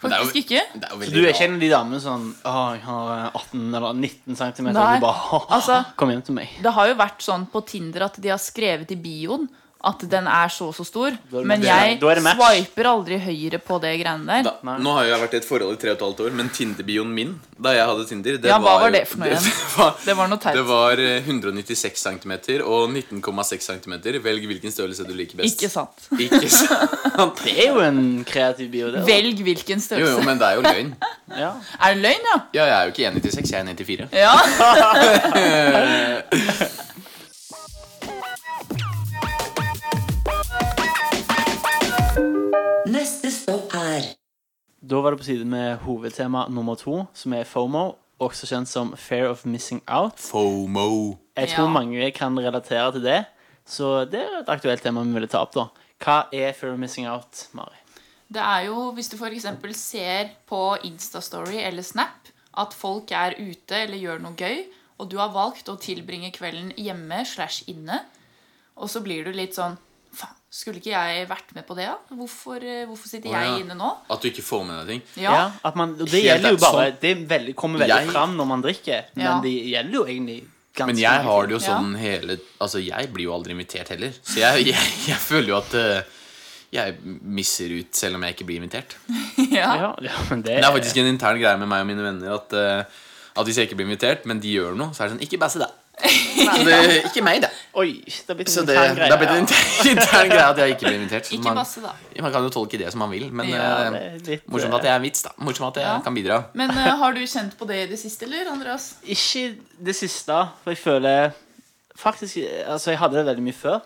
Men det er jo- faktisk ikke. Det er jo Du veldig er rart. ikke en av de damene sånn Å, jeg har 18 eller 19 cm. Nei. Du bare (laughs) Altså- Kom hjem til meg. Det har jo vært sånn på Tinder at de har skrevet i bioen at den er så og så stor. Da er det Men match. jeg Da er det match. swiper aldri høyre på det greiene der. da, Nå har jo jeg vært i et forhold i tre og et halvt år, men Tinder-bioen min da jeg hadde Tinder Ja, hva var jo- det for (laughs) noe det, igjen? var, Det var noe teit. det var, eh, 196 cm og 19,6 cm. Velg hvilken størrelse du liker best. Ikke sant? Ikke sant? Det er jo en kreativ bio, det. da. Velg hvilken Jo, jo, størrelse. men det er jo løgn. Ja. Er det løgn, ja? Ja, jeg er jo ikke 1,96, jeg er 1,94. Ja. Neste stopp er Da var det på tide med hovedtema nummer to, som er FOMO. Også kjent som Fair of Missing Out. FOMO. Jeg tror Ja. mange kan relatere til det, så det er et aktuelt tema vi ville ta opp. da Hva er Fair of Missing Out, Mari? Det er jo hvis du f.eks. ser på Instastory eller Snap at folk er ute eller gjør noe gøy, og du har valgt å tilbringe kvelden hjemme slash inne, og så blir du litt sånn Faen, skulle ikke jeg vært med på det, da? Hvorfor, eh, hvorfor sitter Å, ja. jeg inne nå? At du ikke får med deg ting. Ja. at man, og Det Helt gjelder jo bare sånn. Det er veldig, kommer veldig Jeg- fram når man drikker, men Ja. det gjelder jo egentlig ganske Men jeg har det jo Ja. sånn hele Altså, jeg blir jo aldri invitert heller. Så jeg, jeg, jeg føler jo at eh, jeg misser ut selv om jeg ikke blir invitert. (laughs) Ja. ja, ja, men det, Det er faktisk en intern greie med meg og mine venner at, eh, at hvis jeg ikke blir invitert, men de gjør noe, så er det sånn Ikke bæsje deg. Så det, ikke meg, da. Oi, det har blitt Så en det, det intern greie. er blitt en intern, intern greie at jeg ikke blir invitert. så Ikke man- masse, da. Man kan jo tolke det som man vil, men Ja, eh, det er litt, morsomt at det er en vits, da. Morsomt at jeg Ja. kan bidra. Men eh, har du kjent på det i det siste, eller, Andreas? Ikke det siste, for jeg føler Faktisk, altså jeg hadde det veldig mye før.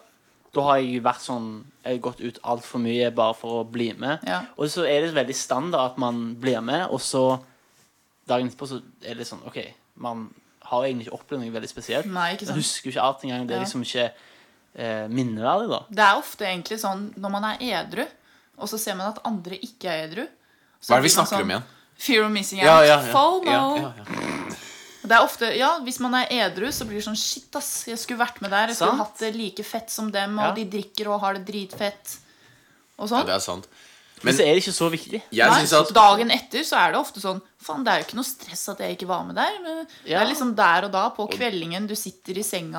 Da har jeg vært sånn Jeg har gått ut altfor mye bare for å bli med. Ja. Og så er det veldig standard at man blir med, og så dagen etterpå så er det sånn OK, man har egentlig ikke opplevd noe veldig spesielt. Nei, ikke sant. Man husker jo ikke alt engang. Det Ja. er liksom ikke eh, minneverdig, da. Det er ofte egentlig sånn når man er edru, og så ser man at andre ikke er edru. så Hva er det vi blir man sånn, snakker om igjen? Fear of missing out. Ja, ja, ja. FOMO. Ja, ja, ja. Det er ofte, ja, Hvis man er edru, så blir det sånn Shit, ass. Jeg skulle vært med der. Jeg skulle Sant. hatt det like fett som dem. Og Ja. de drikker og har det dritfett. Og Ja, sånn. det er sant. Men Men- så er det ikke så viktig. Jeg Nei, synes at så Dagen etter så er det ofte sånn Faen, det er jo ikke noe stress at jeg ikke var med der. Men Det Ja. er liksom der og da, på kveldingen, du sitter i senga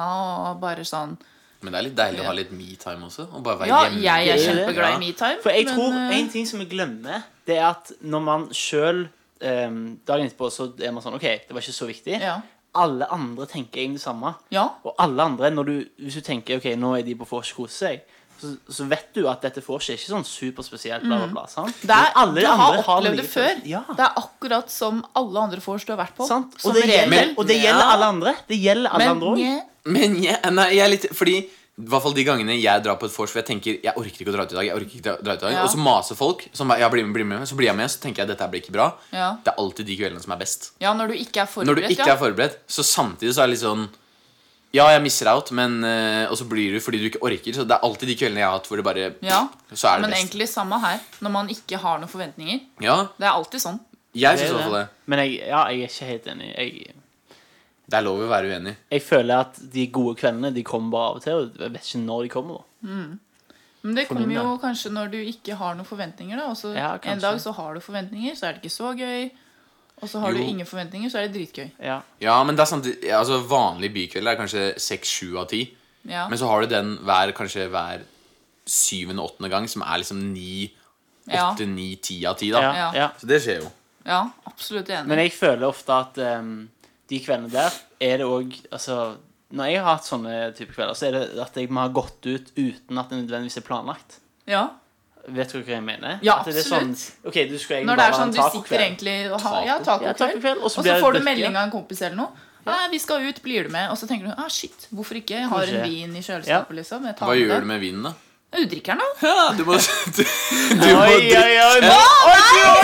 og bare sånn Men det er litt deilig å ha litt me-time også. Og bare være Ja, hjemme. jeg er det er det. kjempeglad i Ja. metime. For jeg men, tror eh, en ting som vi glemmer, det er at når man sjøl Dagen etterpå så er man sånn OK, det var ikke så viktig. Ja. Alle andre tenker egentlig det samme. Ja. Og alle andre, når du, hvis du tenker ok, nå er de på vors kose seg, så, så vet du at dette vors er ikke sånn superspesielt. Bla, bla, bla, sant? Mm. Det er, Men alle du andre har opplevd mye det før. Ja, Det er akkurat som alle andre vors du har vært på. sant? Som Og det, regel. gjelder, og det Ja. gjelder alle andre. Det gjelder alle andre men også. nje, Men jeg, nei, jeg er litt Fordi i hvert fall de gangene jeg drar på et vors, for jeg tenker jeg orker ikke å dra ut i dag. jeg orker ikke å dra ut i dag Ja. Og så maser folk. Som, bare, ja, bli med, bli med. Så blir jeg med, så tenker jeg dette her blir ikke bra. Ja. Det er alltid de kveldene som er best. ja, når du ikke er Når du forberedt. ikke ja. er forberedt, så samtidig så er det litt sånn Ja, jeg misser out, men eh, Og så blir du fordi du ikke orker. Så det er alltid de kveldene jeg har hatt hvor det bare Ja. Så er det Men best. egentlig samme her. Når man ikke har noen forventninger. Ja, Det er alltid sånn. jeg Det syns i er hvert fall det. det. Men jeg, ja, jeg er ikke helt enig. Jeg, Det er lov å være uenig. jeg føler at de gode kveldene de kommer bare av og til. Og jeg vet ikke når de kommer. da Men det For kommer min jo del. kanskje når du ikke har noen forventninger. da Og så Ja, kanskje. En dag så har du forventninger, så er det ikke så gøy. Og så har Jo. du ingen forventninger, så er det dritgøy. Ja. Ja, men det er samtidig, altså Vanlig bykveld er kanskje seks-sju av ti. Ja. Men så har du den hver, kanskje hver syvende-åttende gang, som er liksom ni, Ja. åtte, ni, ti av ti. Ja, da ja. Ja. Så det skjer jo. ja, absolutt enig. Men jeg føler ofte at ehm, de kveldene der er det òg altså, Når jeg har hatt sånne type kvelder, så er det at jeg må ha gått ut uten at det nødvendigvis er planlagt. ja. Vet du hva jeg mener? Ja, At det er sånn, absolutt. ok, du skulle egentlig Når det bare er ha sånn en du sitter tacokveld. egentlig og har ja, tacokveld, tacokveld, og og så så blir det får du drikke. melding av en kompis eller noe. Nei, vi skal ut, blir du med? Og så tenker du ah, shit, hvorfor ikke? Jeg har Kanskje. en vin i Ja. kjøleskapet, liksom. Jeg tar Hva gjør du den. med vinen, da? Ja, Du drikker den, (laughs) da. Ja, du må, du, du må Oi, drikke. oi, oi!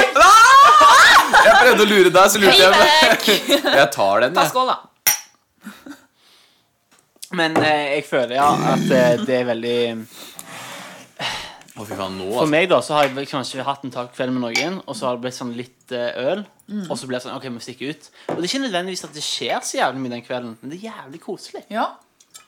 nå- Jeg prøvde å lure deg, så lurte jeg Payback! Jeg tar den, Ta jeg. skål, da. Men eh, jeg føler ja, at eh, det er veldig Å, fy faen, nå, For altså. meg da, så har jeg vel kanskje hatt en takkveld med noen, og så har det blitt sånn litt eh, øl. Mm. Og så blir det sånn OK, vi stikker ut. Og det er ikke nødvendigvis at det skjer så jævlig mye den kvelden, men det er jævlig koselig. Ja.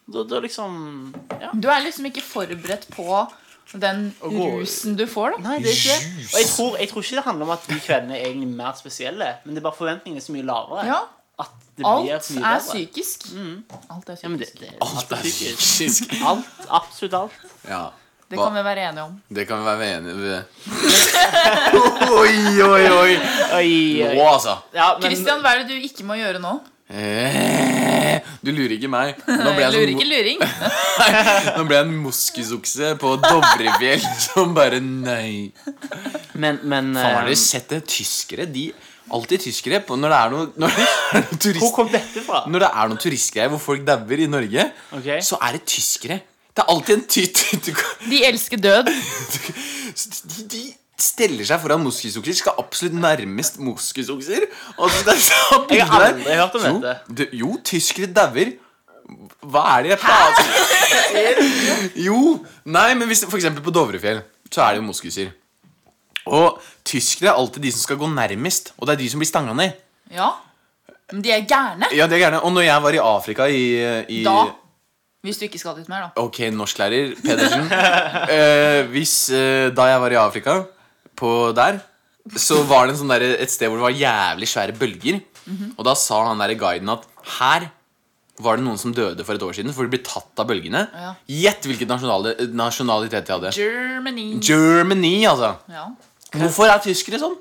Da, da liksom Ja. Du er liksom ikke forberedt på den gå- rusen du får, da. Nei, det er ikke det. Og jeg tror, jeg tror ikke det handler om at de kveldene er egentlig mer spesielle, men det er bare forventningene er så mye lavere. Ja. At det Alt blir mye er bedre. psykisk. Alt er Ja, men det, psykisk. det, Alt er fysisk. (laughs) alt, absolutt alt. Ja. Det kan vi være enige om. Det kan vi være enige ved. (laughs) Oi, oi, oi. Oi, oi. Nå, altså. Ja, men, Christian, hva er det du ikke må gjøre nå? Eh, Du lurer ikke meg. Nå ble Lurer jeg ikke sånn, luring. nå ble jeg en moskusokse på Dovrefjell (laughs) som bare Nei. men, men Faen, har eh, dere sett det? Tyskere, de Alltid tyskere. på- Når det er noe, når det er noe Hvor turist... kom dette fra? Når det er noen turistgreier hvor folk dauer i Norge, Ok. så er det tyskere. Det er alltid en tyt... De elsker død. De, de steller seg foran moskusokser. Skal absolutt nærmest moskusokser. Altså, det er så Jeg bilder har der. aldri hørt om Jo, dette. det- Jo, tyskere dauer. Hva er det jeg prater Jo. Nei, men hvis, for eksempel på Dovrefjell så er det jo moskuser. Og tyskere er alltid de som skal gå nærmest, og det er de som blir stanga ned. Ja. Men de er gærne. Ja, det er gjerne. Og når jeg var i Afrika i, i Da. Hvis du ikke skal dit mer, da. Ok, norsklærer Pedersen. Eh, hvis eh, Da jeg var i Afrika, på der, så var det en sånn der, et sted hvor det var jævlig svære bølger. Og da sa han der guiden at her var det noen som døde for et år siden, for de ble tatt av bølgene. Ja. Gjett hvilket nasjonale, nasjonalitet de hadde. Germany. Germany, altså. Ja. Hvorfor er tyskere sånn?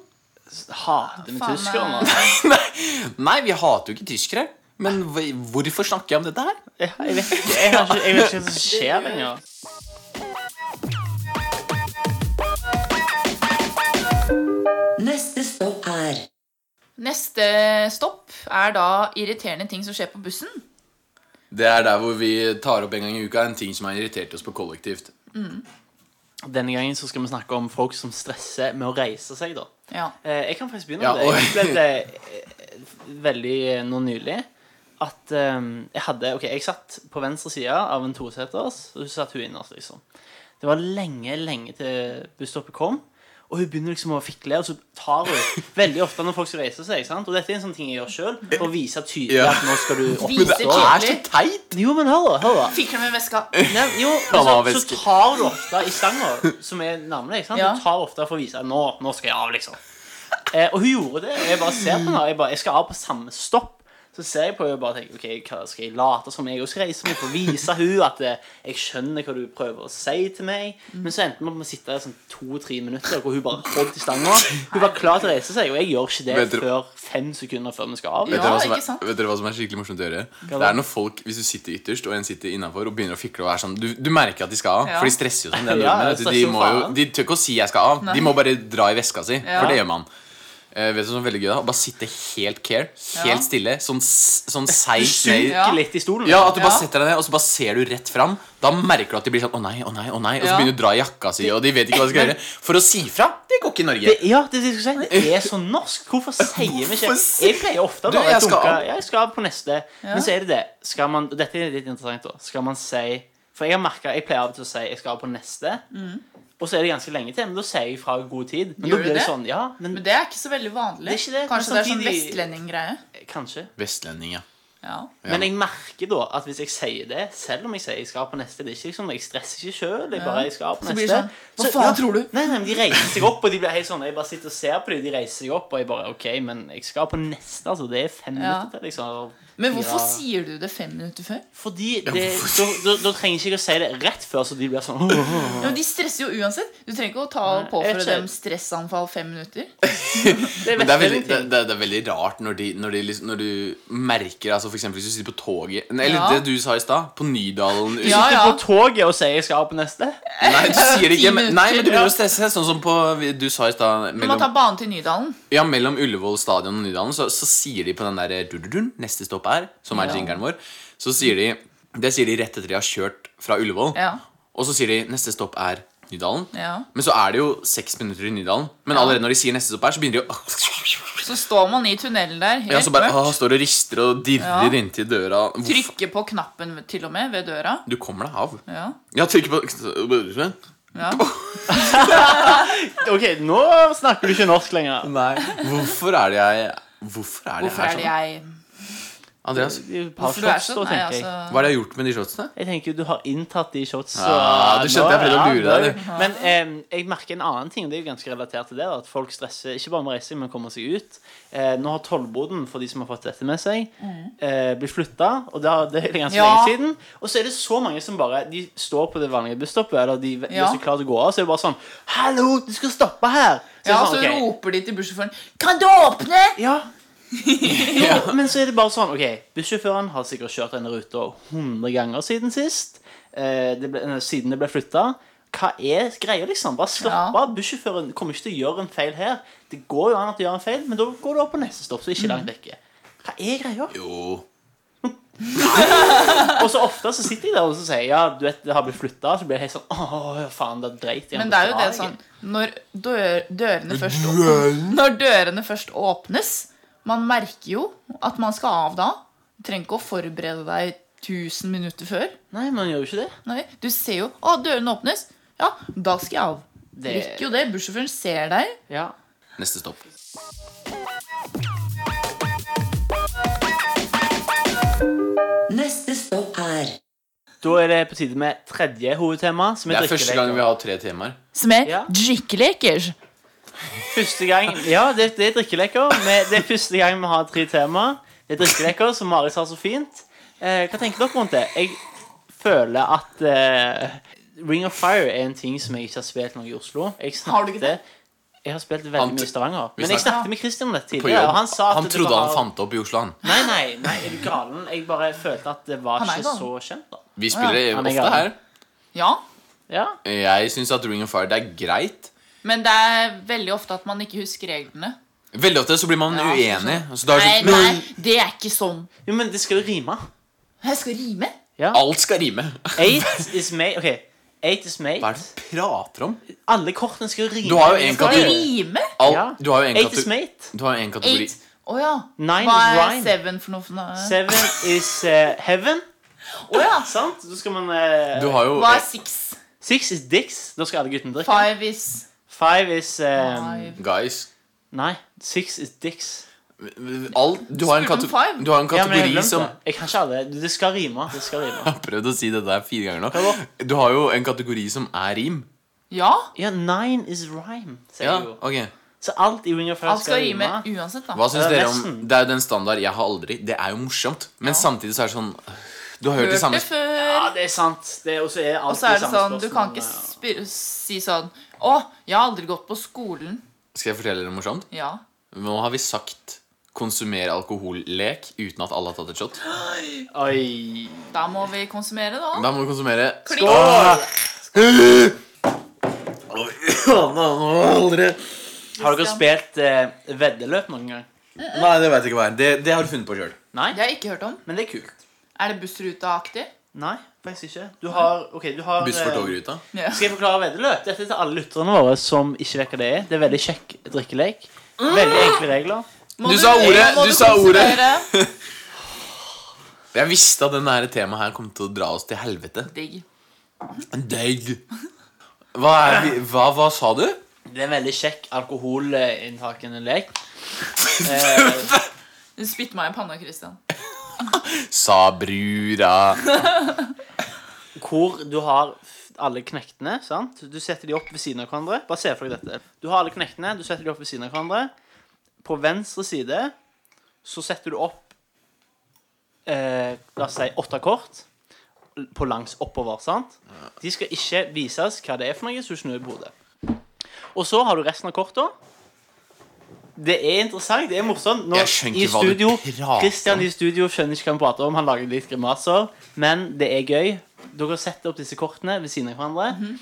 (laughs) Hater vi Faen, tyskere nå? eh, Nei, vi hater jo ikke tyskere. Men hv- hvorfor snakker jeg om dette her? Ja, Jeg vet ikke, jeg, har ikke, jeg vet ikke hva som (laughs) skjer lenger. Neste stopp er Neste stopp er da irriterende ting som skjer på bussen. Det er der hvor vi tar opp en gang i uka en ting som har irritert oss på kollektivt. Denne gangen så skal vi snakke om folk som stresser med å reise seg, da. Ja. Eh, Jeg kan faktisk begynne Ja, med det. Jeg oi. opplevde eh, veldig eh, nå nylig at eh, jeg hadde Ok, jeg satt på venstre side av en toseters, og så satt hun innerst, liksom. Det var lenge, lenge til busstoppet kom. Og hun begynner liksom å fikle, og så (laughs) tar hun veldig ofte når folk skal reise seg. sant? Og dette er en sånn ting jeg gjør sjøl, for å vise tydelig Ja. at nå skal du opp. Men det er Viser så Eh. tydelig. teit! Jo, men hør, da. hør da. Fikler med veska. Nei, jo, Han var men så, væske. så tar du ofte i stanga, som er navnet. Ikke sant? Ja. Du tar ofte for å vise nå, nå skal jeg av, liksom. Eh, og hun gjorde det. Og jeg bare ser på henne. og Jeg, bare, jeg skal av på samme stopp. Så ser jeg på henne og bare tenker ok, hva skal jeg late som jeg også reiser meg for å vise hun at eh, jeg skjønner hva du prøver å si til meg. Men så endte vi opp med å sitte der i sånn to-tre minutter hvor hun bare holdt i stanga. Hun var klar til å reise seg, og jeg gjør ikke det Vet dere- før fem sekunder før vi skal av. Vet, dere hva Ja, som ikke sant? er, vet dere hva som er skikkelig morsomt å gjøre? da? Det er når folk, Hvis du sitter ytterst, og en sitter innafor og begynner å fikle og er sånn Du, du merker at de skal av, Ja. for de stresser jo sånn. det er Ja, nordmenn, det vet du. stresser de, som må jo, faen. de tør ikke å si 'jeg skal av'. Nei. De må bare dra i veska si, Ja. for det gjør man. Eh, vet du hva som er veldig gøy da? Å bare sitte helt care, helt Ja. stille, sånn, s- sånn seigt ned. Synker Ja. litt i stolen. Ja, at du bare Ja. setter deg ned, og så bare ser du rett fram. Da merker du at de blir sånn 'å nei, å nei', å nei og så Ja. begynner du å dra i jakka si, og de vet ikke hva de skal gjøre. For å si fra, det går ikke i Norge. Det, ja, det, er det, jeg skulle si. det er så norsk. Hvorfor sier vi ikke Hvorfor Jeg pleier ofte å Du, bare jeg skal dunke av. ja, Jeg skal av på neste. Men så er det det. Skal man, og dette er litt interessant, da. Skal man si For jeg har merket, jeg pleier av og til å si jeg skal av på neste. Og så er det ganske lenge til, men da sier jeg fra god tid. Men Gjør da du blir det det? sånn, ja, men, Men det er ikke så veldig vanlig. Det er ikke det, men Kanskje det er sånn samtidig- vestlending-greie. kanskje. Vestlending, ja. Ja. Men jeg merker da at hvis jeg sier det, selv om jeg sier jeg skal på neste Det er ikke liksom, Jeg stresser ikke sjøl. Jeg bare jeg skal på Så neste. blir det sånn, hva faen tror du? Nei, nei, men De reiser seg opp, og de blir helt sånn Jeg bare sitter og ser på dem, de reiser seg opp, og jeg bare OK, men jeg skal på neste. altså Det er fem Ja. minutter til, liksom. Men hvorfor Ja. sier du det fem minutter før? Fordi det, da, da, da trenger ikke jeg å si det rett før, så de blir sånn (laughs) «Åh, åh, åh». Ja, men De stresser jo uansett. Du trenger ikke å ta og Nei, jeg påføre vet ikke. dem stressanfall fem minutter. Det Men det er, veldig, ingenting. det, det, det er veldig rart når, de, når, de, liksom- når du merker altså For eksempel hvis du sitter på toget Eller Ja. det du sa i stad, på Nydalen Ja, Sitter ja. på toget og sier jeg skal på neste. Nei, (laughs) du sier det ikke. Men, nei, men du Ja. begynner å stresse. Sånn som på, du sa i stad Du må ta mellom, banen til Nydalen. ja, mellom Ullevål stadion og Nydalen, så, så sier de på den der eh, dududun, neste stopp er, som er Ja. jingeren vår, så sier de Det sier de rett etter de har kjørt fra Ullevål. Ja. Og så sier de neste stopp er Nydalen. Ja. Men så er det jo seks minutter i Nydalen. Men allerede når de sier neste stopp er, så begynner de å Så står man i tunnelen der, ja, helt så bare, mørkt. ah, står og rister og dirrer Ja. inntil døra. Hvorf- Trykker på knappen til og med ved døra. Du kommer deg av. Ja, Ja, trykker på ja. Ok, nå snakker du ikke norsk lenger. Nei. Hvorfor er det jeg Hvorfor er det jeg Hvorfor er det jeg sånn? Andreas, Hvorfor Hvorfor du er sånn? Nei, tenker jeg. altså hva er det jeg har gjort med de shotsene? Jeg tenker jo du har inntatt de shots. så- Ja, du skjønte jeg prøvde å Ja, lure nå er deg, du- Men eh, jeg merker en annen ting, og det er jo ganske relatert til det, da, at folk stresser ikke bare med reising, men kommer seg ut. Eh, nå har tollboden, for de som har fått dette med seg, eh, blitt flytta, og det, har, det er ganske Mm. lenge Ja. siden. Og så er det så mange som bare De står på det vanlige busstoppet, eller de de Ja. er så klare til å gå av, så er det bare sånn 'Hallo, du skal stoppe her!' Så er det Ja, sånn, så «Ok, roper de til bussjåføren Kan du åpne? (laughs) Ja. Jo, men så er det bare sånn Ok, bussjåføren har sikkert kjørt denne ruta 100 ganger siden sist. Eh, det ble, eh, siden det ble flytta. Hva er greia, liksom? Bare slapp Ja. av. Bussjåføren kommer ikke til å gjøre en feil her. Det går jo an at du gjør en feil, men da går du opp på neste stopp, så Mm. ikke langt vekke. Hva er greia? Jo Og så ofte så sitter jeg der og så sier jeg, ja, du vet, det har blitt flytta. Så blir jeg helt sånn Åh, faen, da dreit jeg Men det er jo det Beklager.» sånn Når dør, dørene først åpnes Når dørene først åpnes Man merker jo at man skal av da Du trenger ikke å forberede deg Tusen minutter før Nei, man gjør jo ikke det. Nei, Du ser jo, å dørene åpnes Ja, da skal jeg av Det- Rekker jo det, bussjåføren ser deg Ja. Neste stopp. Neste stopp er Da er det på tide med tredje hovedtema. Som Det er er første drikkeleker. gang vi har tre temaer. Som er Ja. drikkeleker Første gang Ja, det, det er drikkeleker. men Det er første gang vi har tre tema. Det er drikkeleker, som Mari sa så fint. Eh, hva tenker dere rundt det? Jeg føler at eh, Ring of Fire er en ting som jeg ikke har spilt noe i Oslo. Jeg Har du ikke det? Jeg har spilt Han- veldig mye i Stavanger. Vi Men jeg snakket- snakket med Christian om dette På tidligere. jobb. Og han sa at Han det trodde var- han fant det opp i Oslo, han. Nei, nei, nei, er du galen? Jeg bare følte at det var Han er ikke gal. så kjent, da. Vi spiller Han er ofte her. gal. Ja, Ja. Jeg syns at Ring of Fire det er greit. men det er veldig ofte at man ikke husker reglene Veldig ofte så blir man Ja, uenig. Så da er Nei, det nei, sånn, det er ikke sånn Jo, men det skal jo rime. Jeg skal rime Alt skal (laughs) rime. Eight is made. Ok, eight is Hva made. er det du prater om? Alle kortene skal jo rime. Du har jo en kategori. Rime? Al- Ja. Du har jo en Eight is kategori. mate. Du har jo en kategori. Eight Å ja. Nine Hva is er rhyme. seven for noe? For noe? Seven is eh, heaven. Å ja. Sant? Så skal man eh, Du har jo Hva er six? Six is dicks. Da skal alle guttene drikke. Five is Five is eh, five. Guys. Nei, six is dicks. Alt, du, har en Spurte om kate- five. du har en Ja, men jeg kategori har glemt som det. Jeg kan ikke alle. Det skal rime. Det skal rime. (laughs) Jeg har prøvd å si det der fire ganger nå. Hva Du har jo en kategori som er rim. Ja. Ja, nine is rhyme, sier Ja, jeg jo. ok Så alt i Ring of Fire Alt skal skal rime rime. uansett, da. Hva syns Ja, dere om resten. Det er jo den standard jeg har aldri. Det er jo morsomt. Men samtidig så er det sånn Du har hørt det samme Hørt det før. Ja, det er sant. Det er, og så er alt Og så er i det samme sånn Du kan spørsmål, ikke ja. spy- si sånn Å, jeg har aldri gått på skolen. Skal jeg fortelle dere noe morsomt? Ja. Nå har vi sagt konsumere alkohollek uten at alle har tatt et shot. Oi. Da må vi konsumere, da. Da må vi konsumere Klink. (clears throat) Har dere spilt eh, veddeløp noen gang? Nei, det veit jeg ikke hva er. Det, det har du funnet på sjøl. Nei? Det har jeg ikke hørt om. Men det er kult. Er det bussruta-aktig? Nei, faktisk ikke. Du har Ok, du har Buss for eh, togruta. Ja. Skal jeg forklare veddeløp? Dette er til alle lytterne våre som ikke vet hva det er. Det er veldig kjekk drikkelek. Veldig enkle regler. Må Du sa ordet, må du sa ordet. konsumere? Jeg visste at dette temaet her kom til å dra oss til helvete. Digg. Deg. Hva, er vi, hva, hva sa du? Det er en veldig kjekk (laughs) alkoholinntakende lek. Eh, Du spytter meg i panna, Christian. Sa brura. Hvor du har f- alle knektene. sant? Du setter de opp ved siden av hverandre. Bare se for deg dette. Du har alle knektene, du setter de opp ved siden av hverandre. På venstre side så setter du opp eh, La oss si åtte kort l- på langs oppover. sant? De skal ikke vises hva det er for noe, så du snur på hodet. Og så har du resten av korta. Det er interessant. Det er morsomt. Nå, Jeg skjønner i ikke hva du studio, prater om. Christian i studio skjønner ikke hva han prater om. Han lager litt grimaser. Men det er gøy. Dere setter opp disse kortene ved siden av hverandre.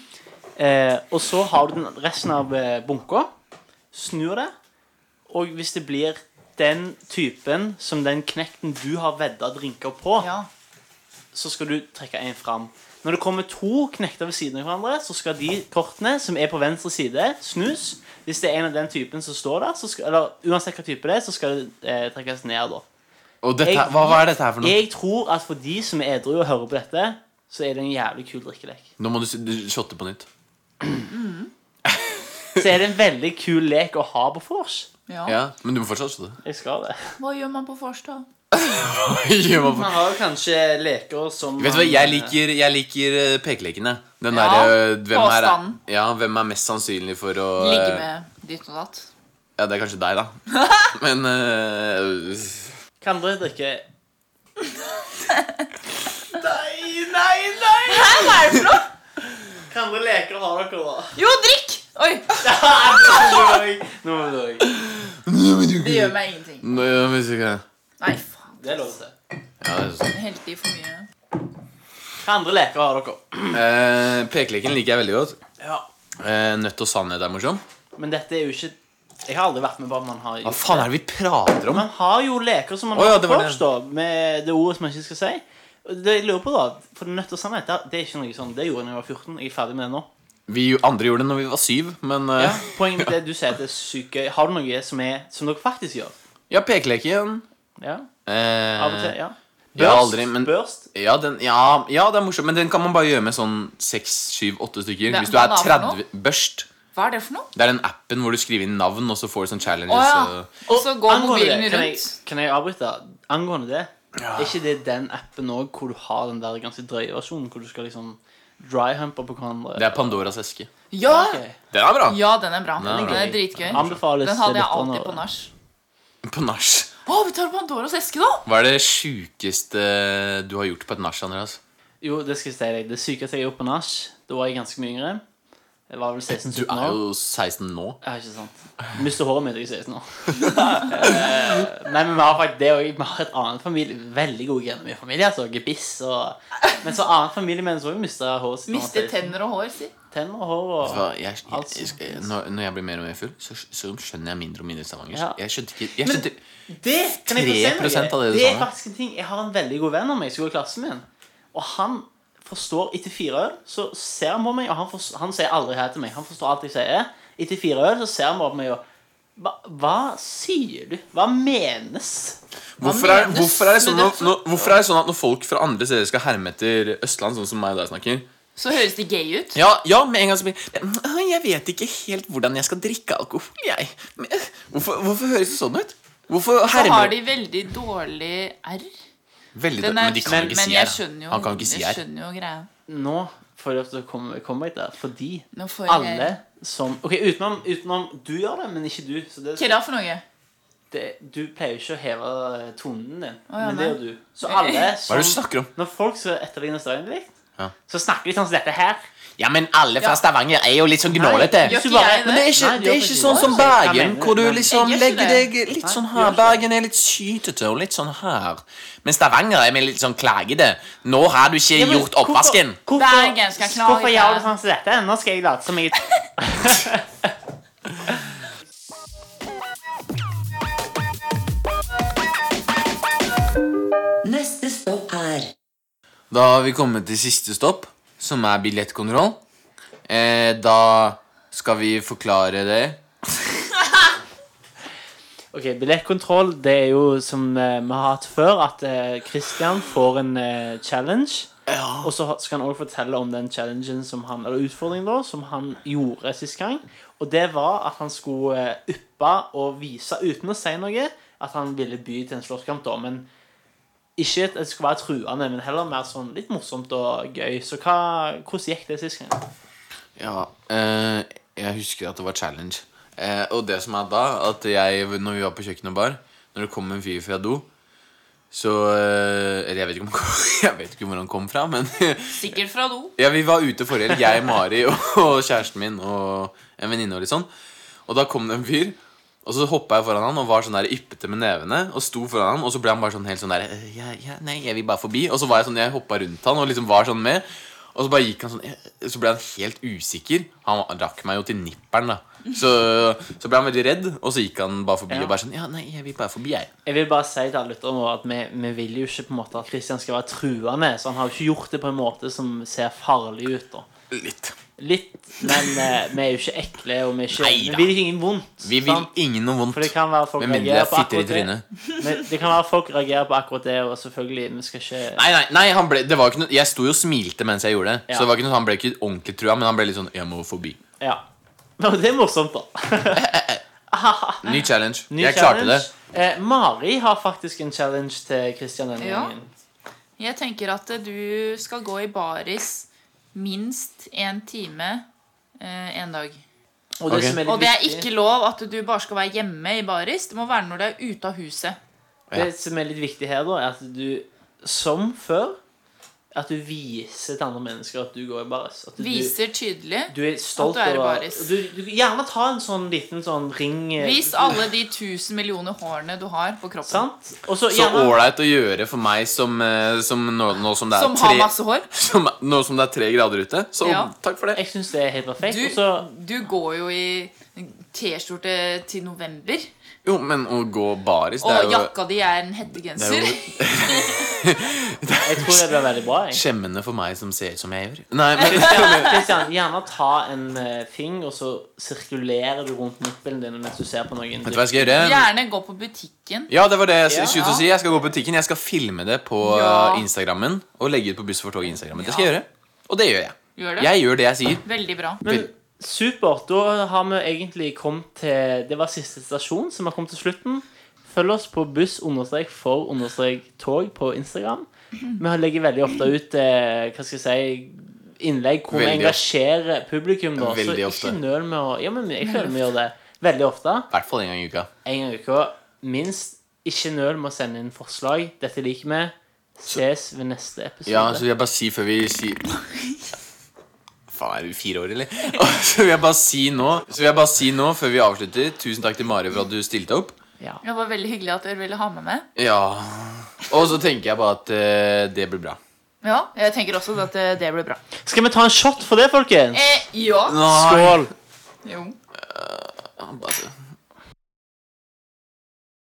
eh, og så har du den resten av eh, bunka. Snur det. Og hvis det blir den typen som den knekten du har vedda drinker på, Ja. så skal du trekke en fram. Når det kommer to knekter ved siden av hverandre, så skal de kortene som er på venstre side, snus. Hvis det er en av den typen som står der, så skal, eller uansett hva type det er, så skal det eh, trekkes ned. da. Og dette, Jeg- hva, hva er dette her for noe? Jeg tror at for de som er edru og hører på dette, så er det en jævlig kul drikkelek. Nå må du, s- du shotte på nytt. Så er det en veldig kul lek å ha på vors. Ja. Ja, Men du må fortsatt shotte. (laughs) Jeg skal det. Hva gjør man på Forstad? Gjør man for- Man har jo kanskje leker som Vet du hva, jeg liker, jeg liker eh, pekelekene. Den Ja, derre eh, hvem, er- påstanden. ja, hvem er mest sannsynlig for å Ligge eh, med ditt og datt. Ja, det er kanskje (laughs) deg, da. Men eh, Kan dere (laughs) drikke Hæ, hva er det for noe? Hva andre leker har (laughs) dere, da? Jo, drikk! Oi, Nå må du det gjør meg ingenting. Nå, ja, hvis ikke Nei, faen. Det er lov til. ja, det er sånn. jeg Helte i for mye. Hva andre leker har dere? eh, Pekeleken liker jeg veldig godt. Ja. Eh, nødt og sannhet er morsom. Men dette er jo ikke Jeg har aldri vært med på at man har Hva faen er det vi prater om? Man har jo leker som man Å, ja, har det på var vors, da, med det ordet som man ikke skal si. Og Det jeg lurer på da, for Nødt og sannhet det- det er ikke noe sånn, det gjorde jeg da jeg var 14. Jeg er ferdig med det nå. Vi jo- andre gjorde det når vi var syv, men eh, Ja, poenget mitt er at du sier at det er sykt gøy. Har du noe som, er, som dere faktisk gjør? Ja, pekeleken. Ja, Eh, Av og til? ja jeg har aldri, men- Børst? Ja, den, ja, ja, det er morsomt, men den kan man bare gjøre med sånn 6-7-8 stykker. Det- Hvis du hva er da for 30 Børst. Hva er det for noe? Det er den appen hvor du skriver inn navn, og så får du sånn challenges. Å ja. og- Og så går angående mobilen det, Kan jeg, rundt. kan jeg avbryte? Angående det, er ikke det den appen òg hvor du har den der ganske drøye versjonen, hvor du skal liksom dryhumpe på hverandre? Det er Pandoras eske. Ja! Ok. Den er bra! ja, den er bra. er Den gøy. er dritgøy. Anbefales Den hadde jeg lytterne alltid å- på nach. På nach. Å, vi tar Pandoras eske, da! Hva er det sjukeste du har gjort på et nach, Andreas? Jo, det skal jeg si deg. Det sykeste jeg gjorde på nach, da var jeg ganske mye yngre. Jeg var vel Du 16-17 er år. jo 16 nå. Ja, ikke sant. Mister håret mitt, jeg er 16 år. Eh, Nei, men vi har faktisk det òg. Vi har et annet familie. Veldig gode gener i min familie. Altså gebiss og Men så annet familiemedlem òg mista håret sitt. når han var Mister 16. tenner og hår, si. tenner og hår og Hva, jeg, jeg, alt jeg, som jeg, finnes. når, når jeg blir mer og mer full, så, så skjønner jeg mindre og mindre Stavanger. Ja. Jeg skjønte ikke jeg skjønte, Det kan jeg få si 3% noe. av det du det er sa nå. faktisk en ting. Jeg har en veldig god venn av meg som går i klassen min. Og han forstår etter fire øl, så ser han på meg, og han, forstår, han sier aldri hei til meg. Han forstår alt jeg sier. Etter fire øl så ser han bare på meg og hva, hva sier du? Hva menes? Hvorfor er, menes hvorfor, er det sånn med at, når, hvorfor er det sånn at når folk fra andre steder skal herme etter Østland, sånn som meg og deg snakker Så høres det gay ut. Ja, ja med en gang så blir det «Åh, Jeg vet ikke helt hvordan jeg skal drikke alkohol, jeg. Men, øh, Hvorfor, hvorfor høres det sånn ut? Hvorfor Så har hermer de veldig dårlig R. Veldig Den dårlig, er, Men de kan men, jo ikke si jeg her. skjønner jo, Han kan jo ikke si jeg her. skjønner jo greia. Nå får jeg lov til å komme, komme meg der, fordi Nå får jeg- alle som Ok, utenom, utenom du gjør det, men ikke du. Så det, Hva er det for noe? det, du pleier jo ikke å heve eh, tonen din, ja, men det nei. gjør du. Så alle Hva er det du sånn. som- snakker om? Når folk skal etterligne Steinvik, Ja. så snakker de sånn som dette her. Ja, men alle fra Stavanger er jo litt sånn gnålete. gjør Hvis du ikke bare- jeg Men det er ikke, Nei, de det er gjør ikke ikke sånn det. som Hva Bergen, mener du? hvor du Men- liksom Jeg gjør ikke legger deg litt Nei, sånn jeg gjør her. ikke Bergen er litt sytete og litt sånn her. Men Stavanger er mer litt sånn klagete. Nå har du ikke Ja, men gjort oppvasken. Hvorfor, Bergen skal klare hvorfor det. gjør du sånn som dette? Nå skal jeg late som jeg Neste stopp er Da har vi kommet til siste stopp, som er billettkontroll. Eh, da skal vi forklare det. Ok, Billettkontroll det er jo som eh, vi har hatt før, at eh, Christian får en eh, challenge. Og så ha- skal han også fortelle om den challengen som han, eller utfordringen da, som han gjorde sist gang. Og det var at han skulle eh, yppe og vise uten å si noe at han ville by til en slåsskamp. da, Men Ikke at det skulle være truende, men heller mer sånn litt morsomt og gøy. Så hva, hvordan gikk det sist gang? Ja, eh, jeg husker at det var challenge. Eh, og det som er da, at jeg, når vi var på kjøkken og bar, når det kom en fyr fra do så eh, Eller jeg vet ikke, om, (laughs) han kom- jeg vet ikke hvor han kom fra, men Sikkert fra do. ja, Vi var ute forrige helg, jeg, Mari og, og kjæresten min og en venninne. Og litt sånn Og da kom det en fyr, og så hoppa jeg foran han og var sånn der yppete med nevene. Og sto foran han, og så ble han bare sånn helt sånn der «Eh, ja, ja, Nei, jeg vil bare forbi. Og så var jeg sånn, jeg hoppa rundt han og liksom var sånn med. Og så bare gikk han sånn eh, Så ble han helt usikker. Han rakk meg jo til nipperen, da. Så, så ble han veldig redd, og så gikk han bare forbi Ja. og bare sånn Ja, nei, jeg vil bare forbi, jeg. Jeg vil bare si til alle lytterne våre at vi, vi vil jo ikke på en måte at Christian skal være truende, så han har jo ikke gjort det på en måte som ser farlig ut. da. Litt. Litt, men eh, vi er jo ikke ekle, og vi, er ikke, Neida. vi vil ikke ingen vondt. Vi vil sant? ingen noe vondt. For det Sånn. kan være folk Med mindre reagerer jeg på fitter i akkurat det. trynet. Men det kan være folk reagerer på akkurat det, og selvfølgelig, vi skal ikke Nei, nei, nei han ble, det var ikke noe, jeg sto jo og smilte mens jeg gjorde det. Ja. Så det var ikke noe, han ble ikke ordentlig trua, men han ble litt sånn 'jeg må forbi'. Ja. (laughs) Men det er morsomt, da. Ny challenge. Ny jeg klarte challenge. det. Eh, Mari har faktisk en challenge til Christian denne Ja. gangen. Jeg tenker at eh, du skal gå i baris minst én time eh, en dag. Og det, Ok. som er litt Og det er viktig- ikke lov at du bare skal være hjemme i baris. Det må være når du er ute av huset. Det som er litt viktig her, da, er at du som før At du viser til andre mennesker at du går i baris. At du, Viser tydelig. du er stolt at du er i over- baris. Du, du, gjerne ta en sånn liten sånn ring eh, Vis alle de tusen millioner hårene du har på kroppen. Sant? Og så Så gjerne ålreit å gjøre for meg som, eh, som nå, nå som det er Som har tre masse hår. (laughs) som, Nå som det er tre grader ute. Så Ja. takk for det. Jeg syns det er helt perfekt. Du, Og så du går jo i T-skjorte til november. Jo, men å gå baris, det er Og jo, jakka di er en det er hettegenser. jo Jeg tror det blir veldig bra. Jeg. skjemmende for meg som ser ut som jeg gjør. Nei, men Christian, Christian, gjerne ta en eh, ting, og så sirkulerer du rundt nippelen din mens du ser på noen. Vet du hva jeg skal (laughs) gjøre? Gjerne gå på butikken. Ja, det var det jeg Ja. skulle til å si. Jeg skal gå på butikken. Jeg skal filme det på Ja. eh, Instagrammen og legge ut på Buss for tog-Instagrammen. Det skal jeg gjøre. Og det gjør jeg. Gjør det. Jeg gjør det jeg sier. Veldig bra. Men supert. Da har vi egentlig kommet til Det var siste stasjon, så vi har kommet til slutten. Følg oss på buss understrek for understrek tog på Instagram. Vi legger veldig ofte ut eh, hva skal jeg si innlegg hvor vi Veldig ofte. engasjerer publikum. Da. Så Veldig ofte. ikke nøl med å Ja, men jeg føler vi gjør det veldig ofte. I hvert fall en gang i uka. En gang i uka. Minst ikke nøl med å sende inn forslag. Dette liker vi. Ses ved neste episode. Ja, så vil jeg bare si før vi sier Faen, er du fire år, eller? Og Så vil jeg bare si nå Så vil jeg bare si nå før vi avslutter Tusen takk til Mari for at du stilte opp. Ja. Det var veldig hyggelig at dere ville ha meg med. Ja Og så tenker jeg bare at eh, det blir bra. Ja, jeg tenker også at eh, det blir bra. Skal vi ta en shot for det, folkens? Eh, ja. Nei. Skål. Jo. Ja, bare så-